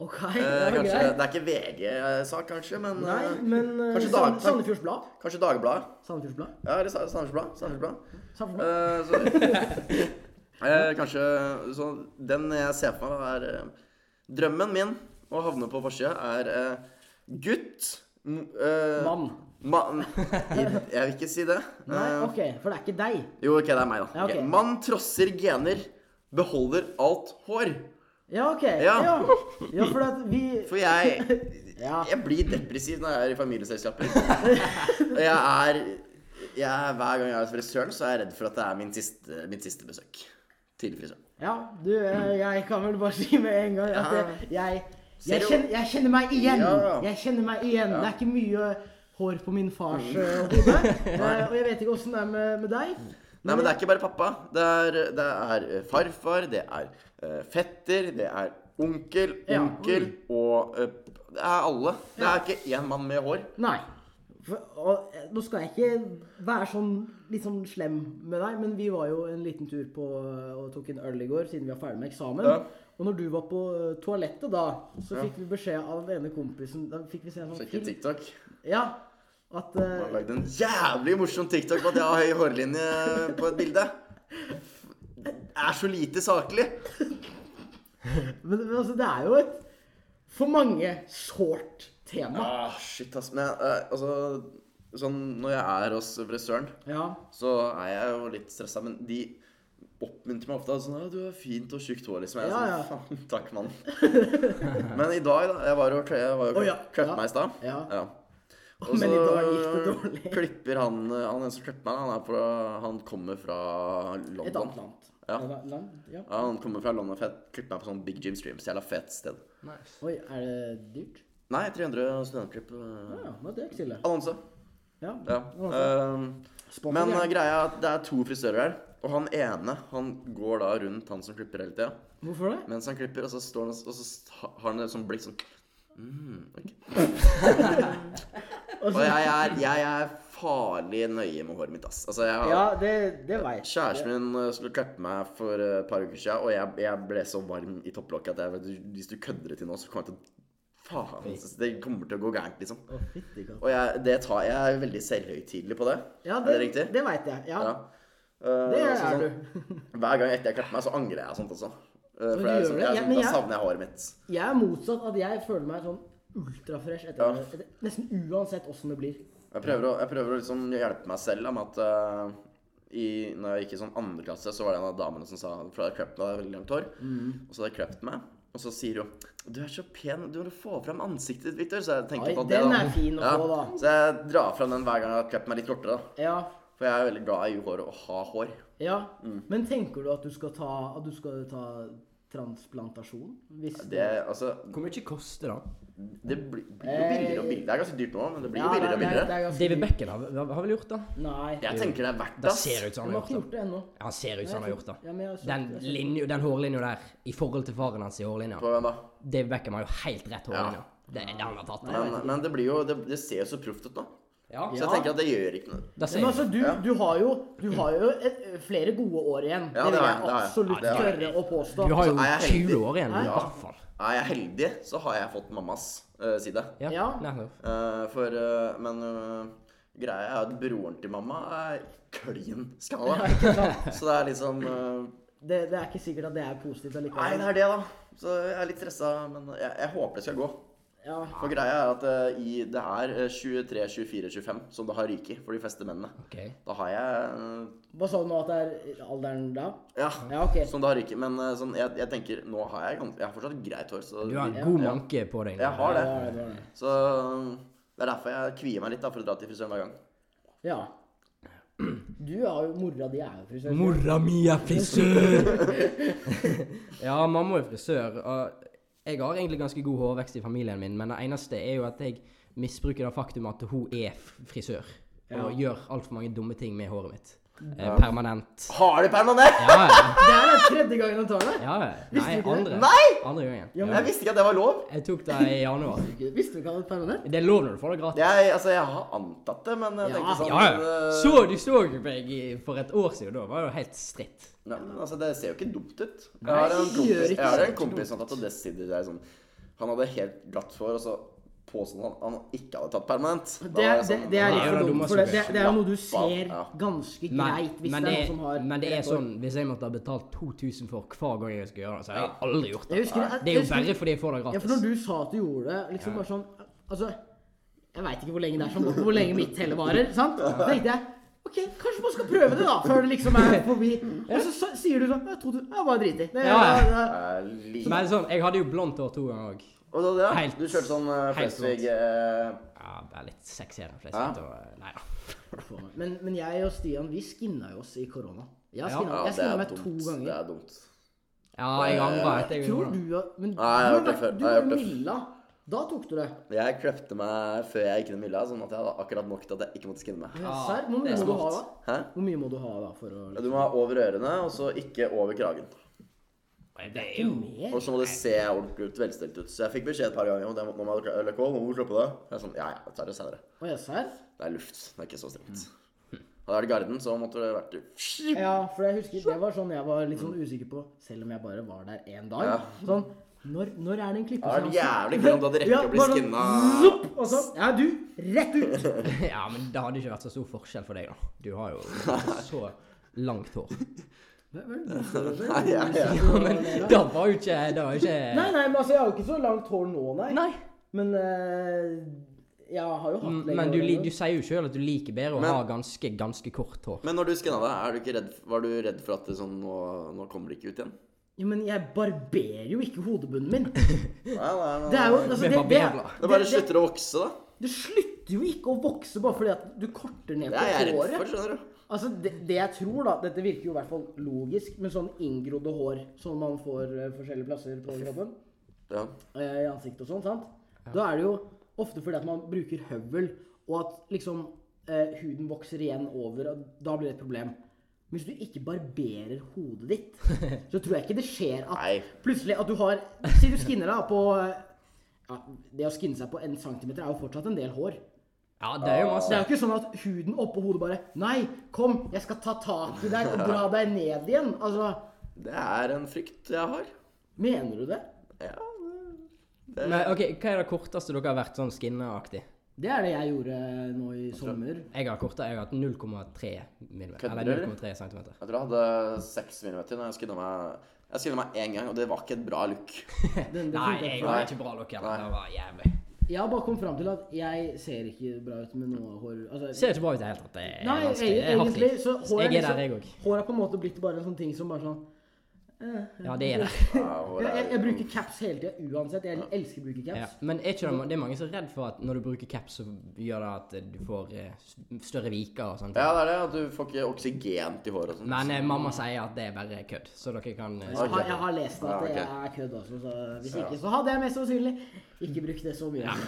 S6: OK,
S8: Eh,
S6: det var
S8: kanskje,
S6: greit.
S8: det er ikke VG-sak, kanskje, men,
S6: Nei,
S8: eh,
S6: men eh,
S8: Kanskje
S6: Sand-
S8: dag-
S6: Sandefjords Blad?
S8: kanskje Dagbladet.
S6: Sandefjords Blad?
S8: Ja, eller Sa- Sandefjords Blad. Sandefjords Blad.
S6: Sandefjords Blad?
S8: Eh, så- Eh, kanskje Så den jeg ser for meg, da, er eh, Drømmen min å havne på forsida er eh, gutt m- eh,
S6: Mann.
S8: Mann Jeg jeg vil ikke si det.
S6: Nei,
S8: Eh,
S6: OK, for det er ikke deg.
S8: Jo, OK, det er meg, da.
S6: Ja, ok.
S8: Ok. Mann trosser gener, beholder alt hår.
S6: Ja, OK.
S8: Ja.
S6: Ja, ja for at vi
S8: For jeg
S6: Ja.
S8: Jeg blir depressiv når jeg er i familieselskaper. Og jeg er jeg, Hver gang jeg er hos frisøren, så er jeg redd for at det er min siste, mitt siste besøk til frisøren.
S6: Ja, du, eh, jeg kan vel bare si med en gang at eh, jeg
S8: Ser
S6: Jeg
S8: du-
S6: kjenner, jeg kjenner meg igjen.
S8: Ja. Mm.
S6: Jeg kjenner meg igjen. Det er ikke mye hår på min fars eh, hode. Eh, Og jeg vet ikke åssen det er med, med deg.
S8: Nei, men det er ikke bare pappa. Det er, det er eh, farfar, det er eh, fetter, det er onkel,
S6: Ja.
S8: onkel og eh, Det er alle. Det er ikke én mann med hår.
S6: Nei. For, og, eh, nå skal jeg ikke være sånn litt sånn slem med deg, men vi var jo en liten tur på eh, og tok en øl i går siden vi var ferdig med eksamen.
S8: Ja.
S6: Og når du var på eh, toalettet da, så fikk vi beskjed av den ene kompisen Da fikk vi se en sånn
S8: Sjekke
S6: film.
S8: TikTok.
S6: Ja. At eh,
S8: Jeg har lagd en jævlig morsom TikTok på at jeg har høy hårlinje på et bilde. Det er så lite saklig.
S6: men, men altså, det er jo et for mange sårt tema.
S8: Ah, shit, ass. Men eh, altså Sånn når jeg er hos frisøren,
S6: Ja.
S8: så er jeg jo litt stressa, men de oppmuntrer meg ofte. Sånn, «Ja, 'Du har fint og tjukt hår', liksom. Jeg er
S6: Ja, ja.
S8: sånn, faen, takk, mann. men i dag, da. Jeg var jo klø- jeg var jo
S6: Å, ja.
S8: klippet
S6: Ja.
S8: meg i stad.
S6: Ja.
S8: Og
S6: Men i dag gikk det
S8: så
S6: dårlig.
S8: klipper han Han en som klipper meg, han, er fra, han kommer fra London.
S6: Et annet land. Et
S8: Ja.
S6: annet land, ja.
S8: Ja, han kommer fra London og fet- klipper meg på sånn Big Jim Streams. Jævla fett sted.
S6: Oi, er det dyrt?
S8: Nei, 300 studentklipp. eh,
S6: Ja, men det er ikke så ille.
S8: Annonse.
S6: Ja.
S8: Ja. ehm,
S6: Sponsor,
S8: men
S6: gjerne.
S8: eh, greia er at det er to frisører her. Og han ene han går da rundt han som klipper hele tida.
S6: Hvorfor det?
S8: Mens han klipper, og så, står han, og så sta- har han et sånt blikk sånn mm, ok. Og jeg er, jeg er farlig nøye med håret mitt, ass. Altså, jeg har,
S6: Ja, det, det veit jeg.
S8: Kjæresten min eh, skulle klippe meg for eh, et par uker siden, og jeg, jeg ble så varm i topplokket at jeg, vet du, hvis du kødder det til nå, så kommer jeg til å Faen, ass, det kommer til å gå gærent, liksom.
S6: Å, fytti katt.
S8: Og jeg, det tar, jeg er veldig selvhøytidelig på det.
S6: Ja,
S8: er det riktig?
S6: Det veit jeg. Ja,
S8: Ja. Eh,
S6: det
S8: så
S6: er
S8: sånn,
S6: du.
S8: Hver gang etter jeg klipper meg, så angrer jeg og sånt også. Eh,
S6: Men
S8: For
S6: du
S8: det er
S6: gjør
S8: sånn,
S6: det?
S8: jeg,
S6: Ja,
S8: er sånn,
S6: men
S8: da
S6: jeg-
S8: savner jeg håret mitt.
S6: Jeg er motsatt. At jeg føler meg sånn ultrafresh etter,
S8: Ja.
S6: etter nesten uansett åssen det blir.
S8: Jeg prøver å, jeg prøver å liksom hjelpe meg selv da, med at eh, i, når jeg gikk i sånn andre klasse, så var det en av damene som sa For jeg hadde krøpt meg, jeg hadde veldig langt hår.
S6: Mm.
S8: Og så hadde jeg krøpt meg. Og så sier hun 'Du er så pen. Du må få fram ansiktet ditt, Victor.' Så jeg tenker
S6: Oi,
S8: på alt
S6: den
S8: det,
S6: er fin å få, da.
S8: Så jeg drar fram den hver gang jeg har krøpt meg litt kortere, da.
S6: Ja.
S8: For jeg er veldig glad i håret og ha hår.
S6: ja.
S8: Mm.
S6: Men tenker du at du skal ta, at du skal ta transplantasjon? Hvis
S8: Det, altså,
S7: Hvor mye koster det?
S8: det blir, blir jo billigere og billigere. Det er ganske dyrt nå, men det blir jo
S6: Ja,
S8: billigere og
S6: det er- det
S8: billigere.
S6: er ganske-
S7: David Becken har, har vel gjort det?
S6: Nei.
S8: Jeg tenker det er verdt det.
S7: Det
S8: ass.
S7: ser ut
S6: Han
S7: som han
S6: har
S7: har
S6: ikke gjort
S7: gjort det.
S6: det ennå.
S7: Han ser ut som han har gjort
S6: Ja, men jeg
S7: det.
S6: har sett-
S7: Den,
S6: jeg har sett-
S7: linja, den hårlinja der, i forhold til faren hans i hårlinja
S8: På hvem da?
S7: David Beckham har jo helt rett hårlinje.
S8: Ja.
S7: Det er det han har tatt. det.
S8: Men, men det blir jo Det, det ser jo så proft ut nå.
S7: Ja,
S8: Så jeg tenker at det gjør ikke noe.
S7: det
S6: Men
S7: ser
S6: altså, du, du har jo, du har jo et, flere gode år igjen. det
S8: Ja, det
S6: vil
S8: har
S6: jeg
S8: jeg, det har jeg.
S6: absolutt
S8: Ja, det har
S6: tørre å påstå.
S7: Du har jo
S8: så er jeg
S7: 20
S8: heldig.
S7: år igjen, i
S6: Ja.
S7: hvert fall.
S8: Er jeg heldig, så har jeg fått mammas eh, side.
S7: Ja.
S6: Ja.
S7: nettopp.
S8: Eh, for eh, Men eh, greia er at broren til mamma er klin skalla. så det er liksom eh,
S6: Det, det er ikke sikkert at det er positivt
S8: Nei,
S6: allikevel.
S8: det er det, da. Så jeg er litt stressa, men jeg, jeg håper det skal gå.
S6: Ja.
S8: For greia er at eh, i, det er eh, 23, 24, 25 som det har ryket for de fleste mennene.
S7: Ok.
S8: Da har jeg eh,
S6: Hva sa du nå at det er alderen da?
S8: Ja,
S6: Ja, ok.
S8: som det har ryket. Men eh, sånn, jeg, jeg tenker Nå har jeg gans- Jeg har fortsatt greit hår, så
S7: Du har en god
S8: Ja.
S7: manke på deg. nå.
S8: Jeg har det.
S6: Ja, det var det.
S8: Så det er derfor jeg kvier meg litt da, for å dra til frisøren hver gang.
S6: Ja. Du har jo Mora di er jo frisør.
S7: Mora mi er frisør! ja, mamma er frisør. Og jeg har egentlig ganske god hårvekst i familien min, men det eneste er jo at jeg misbruker det faktum at hun er f- frisør. Og gjør altfor mange dumme ting med håret mitt. Eh, permanent.
S8: Har du permanent?!
S7: Ja, ja.
S6: Det her er tredje gangen han tar det.
S7: ja. Nei,
S6: du ikke det?
S7: andre.
S8: Nei!
S7: Andre gangen.
S6: Ja, men-
S8: Jeg visste ikke at det var lov!
S7: Jeg tok det i januar.
S6: Visste du ikke han hadde permanent?
S7: Det er lov når du får det gratis.
S8: Jeg, altså, jeg har antatt det, men jeg tenkte sånn
S7: Ja, Ah, ja.
S8: eh,
S7: Så du så meg i- for et år siden, da var jeg jo helt stritt.
S8: Nei, men altså, det ser jo ikke dumt ut. Jeg har en kompis, jeg har en kompis som har tatt Decider der sånn Han hadde helt glatt hår, og så påstod han han ikke hadde tatt permanent.
S6: Det,
S8: Da var
S6: er-
S8: jeg
S6: det,
S8: sånn,
S6: det er
S7: Nei,
S6: litt
S7: det er
S6: for dumt,
S7: dummeste
S6: for det, det, det er jo noe du
S8: Ja,
S6: ser
S8: sånn, ja.
S6: ganske
S7: Men,
S6: greit hvis
S7: men
S6: det er
S7: det-
S6: noen som har
S7: men det er
S6: rett hår.
S7: sånn Hvis jeg måtte ha betalt 2000 for hver gang jeg skal gjøre det, så hadde jeg aldri
S6: Jeg
S7: gjort det.
S6: husker- jeg-
S7: Det er jo
S6: jeg husker-
S7: bare fordi jeg får det
S6: Ja,
S7: gratis.
S6: for når du sa at du gjorde det, liksom bare sånn Altså, jeg veit ikke hvor lenge det er som hvor lenge mitt telle varer, sant? Da tenkte jeg OK, kanskje man skal prøve det, da, før det liksom er forbi. Og så sa- sier du sånn Jeg trodde Jeg bare driter. Det,
S7: Ja, ja.
S6: det- det-
S8: eh, li-
S7: Men sånn, jeg hadde jo blondt hår to ganger òg.
S8: Og da, ja,
S7: Helt-
S8: du kjørte sånn uh,
S7: helt
S8: Flesvig
S7: sant.
S8: eh,
S7: Ja, bare litt sexier enn flest.
S8: Ja.
S7: og, eh, Nei da.
S6: Men, men jeg og Stian, vi skinna jo oss i korona. Jeg
S7: Ja.
S6: skinna,
S8: Ja,
S6: jeg
S8: det
S6: skinna
S8: er
S6: meg to
S8: dumt. Det
S6: ganger.
S8: er dumt.
S7: Ja, jeg angrer etter jeg
S6: Eh, Tror
S7: gjorde det.
S6: du at Men du
S8: Nei, jeg har
S6: har
S8: gjort det før.
S6: vært- du
S8: Jeg har
S6: var
S8: gjort det før.
S6: Milla. Da tok du det.
S8: Jeg krøpte meg før jeg gikk ned mylla, sånn at jeg hadde akkurat nok til at jeg ikke måtte skinne meg.
S6: Ja,
S7: Ja,
S6: Serr, hvor
S7: det
S6: mye
S7: er
S6: må du ha
S7: smart.
S6: da?
S8: Hæ?
S6: Hvor mye må du ha da for å
S8: Du må ha over ørene, og så ikke over kragen.
S7: Det er jo
S6: Mer?
S8: Og så må det se ordentlig ut, velstelt ut. Så jeg fikk beskjed et par ganger om det. Nå må jeg ha LK, nå må du slippe det. Jeg er sånn, ja, ja, jeg tar det senere.
S6: Å, ja, serr?
S8: Det er luft, det er ikke så strengt.
S6: Mm.
S8: Hadde jeg vært i Garden, så måtte det vært
S6: Ja, for jeg husker det var sånn jeg var litt sånn usikker på, selv om jeg bare var der én dag.
S8: Ja.
S6: Sånn når, når er det en
S8: Det hadde vært
S6: klippeseanse?
S8: jævlig kult om du hadde rekket å bli
S6: bare sånn,
S8: skinna.
S6: zopp, og så Ja, du! Rett ut!
S7: Ja, men det hadde ikke vært så stor forskjell for deg, da. Du har jo ikke så langt hår.
S8: Nei, ja, ja.
S7: Det var jo ikke Det
S6: Nei,
S7: var jo ikke
S6: nei, men altså, jeg har jo ikke så langt hår nå, nei.
S7: Nei.
S6: Men eh, jeg har jo
S8: Mm,
S6: hatt
S7: Men du,
S6: hår
S7: li-
S6: enn
S7: du
S6: det.
S7: sier jo sjøl at du liker bedre å
S8: Men-
S7: ha ganske, ganske kort hår.
S8: Men når du skinna deg, er du ikke redd, var du redd for at det sånn, nå, nå kommer det ikke ut igjen?
S6: Jo, men jeg barberer jo ikke hodebunnen min.
S8: Nei, nei, nei.
S6: Det er jo altså,
S7: Med
S6: det, det,
S7: barberblad.
S8: Det bare
S6: det- det-
S8: slutter å vokse, da.
S6: det slutter jo ikke å vokse bare fordi at du korter ned
S8: Det er
S6: på
S8: jeg redd
S6: håret.
S8: for, skjønner du.
S6: Altså, det, det jeg tror, da Dette virker jo i hvert fall logisk med sånn inngrodde hår som man får eh, forskjellige plasser på kroppen.
S8: Ja.
S6: eh, I ansiktet og sånn, sant? Da er det jo ofte fordi at man bruker høvel, og at liksom eh, huden vokser igjen over, og da blir det et problem. Men Hvis du ikke barberer hodet ditt, så tror jeg ikke det skjer at
S8: Nei.
S6: plutselig at du har Si du skinner deg på eh, ja, Det å skinne seg på en centimeter er jo fortsatt en del hår.
S7: Ja, det er jo
S6: Det
S7: masse.
S6: er jo ikke sånn at huden oppå hodet bare Nei, kom, jeg skal ta tak i deg og dra deg ned igjen. Altså,
S8: Det er en frykt jeg har.
S6: mener du det?
S8: Ja.
S7: Men, ok, Hva er det korteste dere har vært sånn skinneaktig?
S6: Det er det jeg gjorde nå i sommer.
S7: Jeg har kortere, jeg har hatt 0,3 millimeter.
S8: Kødder
S7: Eller
S8: du, eller?
S7: 0,3 centimeter.
S8: Jeg tror jeg hadde 6 millimeter når jeg skinna meg Jeg skylder meg én gang, og det var ikke et bra look.
S6: Den, den
S7: Nei,
S6: funker
S7: jeg
S6: for
S7: var
S6: meg.
S7: ikke bra nok heller.
S8: Nei.
S7: Det var jævlig.
S6: Jeg har bare kommet fram til at jeg ser ikke bra ut med noe hår. Altså,
S7: Ser ikke bra ut i det hele tatt. Det er
S6: Nei,
S7: vanskelig.
S6: e-
S7: Jeg har
S6: egentlig
S7: ikke-
S6: så hår liksom-
S7: Jeg er der, jeg òg.
S6: Hår er på en måte blitt bare en sånn ting som bare sånn
S7: Ja, det er det.
S8: Ja, hvor
S6: Jeg,
S8: er-
S6: jeg, jeg bruker caps hele tida uansett. Jeg elsker å bruke
S7: Ja.
S6: caps.
S7: Men er ikke det, det er mange som er redd for at når du bruker caps, så gjør det at eh, du får eh, s- større viker og sånt.
S8: Ja, det er det. At du får ikke oksygen til håret og sånn.
S7: Men eh, mamma sier at det er bare kødd, så dere kan eh,
S6: Jeg har, jeg har lest at det
S8: Ja,
S6: er kødd også, så hvis ikke så hadde jeg mest sannsynlig ikke brukt det så mye.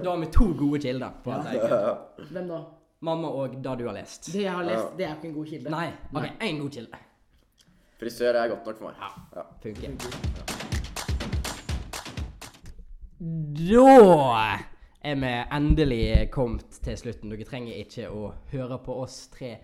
S7: Da har vi to gode kilder på at det er kødd.
S6: Hvem da?
S7: Mamma og det du har lest.
S6: Det jeg har lest, det er jo ikke en god kilde.
S7: Nei. OK, én god kilde.
S8: Frisør er godt nok for meg. Ja.
S7: Funker. Da er vi endelig kommet til slutten. Dere trenger ikke å høre på oss tre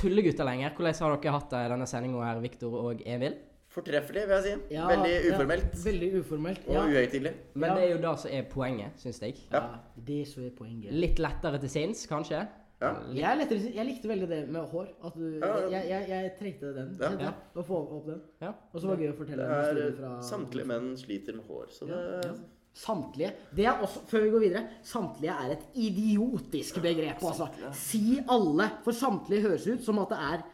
S7: tullegutter lenger. Hvordan har dere hatt det i denne sendinga her, Viktor og Emil?
S8: Fortreffelig, vil jeg si.
S6: Ja,
S8: Veldig
S6: ja,
S8: uformelt.
S6: veldig uformelt.
S8: Og
S6: Ja.
S8: uhøytidelig.
S7: Men
S6: Ja.
S7: det er jo det som er poenget, syns jeg.
S6: ja. Det som er poenget.
S7: Litt lettere til sinns, kanskje.
S8: Ja.
S6: Jeg, er lettere, jeg likte veldig det med hår. At du,
S8: Ja, ja.
S6: Jeg, jeg, jeg trengte den.
S8: Ja.
S6: kjente jeg, Å få opp den.
S7: Ja.
S6: Og så var det gøy å fortelle
S8: Det
S6: en
S8: er eh,
S6: historie fra
S8: Samtlige menn sliter med hår, så det
S6: Samtlige. Det er også, før vi går videre, samtlige er et idiotisk begrep. Altså. Si alle, for samtlige høres ut som at det er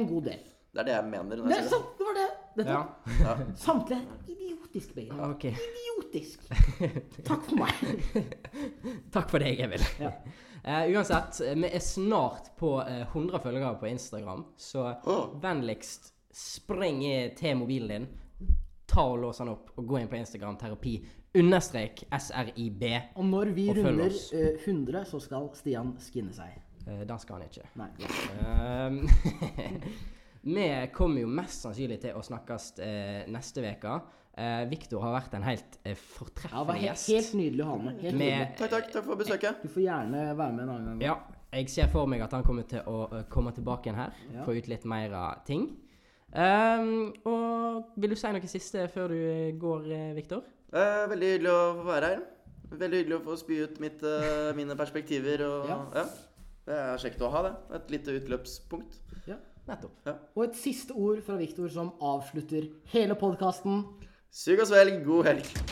S6: en god del.
S8: Det er det jeg mener. når
S6: Det
S8: jeg
S6: er
S8: sier
S6: sant, det var det! Dette.
S7: Ja.
S6: Samtlige er et idiotisk begrep.
S7: OK.
S6: Idiotisk. Takk for meg.
S7: Takk for deg, Emil.
S6: Ja.
S7: Eh, uansett, eh, vi er snart på eh, 100 følgere på Instagram, så
S8: Åh.
S7: vennligst spring i- til mobilen din, ta og lås den opp, og gå inn på Instagram terapi understrek srib.
S6: Og når vi
S7: Og følg
S6: runder
S7: oss.
S6: eh, 100, så skal Stian skinne seg.
S7: Eh, den skal han ikke.
S6: Nei.
S7: Ehm, Vi kommer jo mest sannsynlig til å snakkes eh, neste uke. Eh, Viktor har vært en helt
S6: Ja, det
S7: eh,
S6: var
S7: fortreffelig
S6: helt,
S7: gjest.
S6: helt nydelig å ha med. Helt nydelig.
S8: det. Takk, takk, takk for besøket.
S6: Du får gjerne være med en annen gang.
S7: Ja, Eh, jeg ser for meg at han kommer til å eh, komme tilbake igjen her.
S6: Ja.
S7: Få ut litt mer av ting. Ehm, og vil du si noe siste før du eh, går, eh, Viktor?
S8: Eh, veldig hyggelig å få være her. Veldig hyggelig å få spy ut mitt, eh, mine perspektiver og ja.
S6: Ja.
S8: Det er kjekt å ha, det. Et lite utløpspunkt.
S6: Ja.
S7: Nettopp.
S6: Og et siste ord fra Viktor som avslutter hele podkasten.
S8: Sug og svelg. God helg.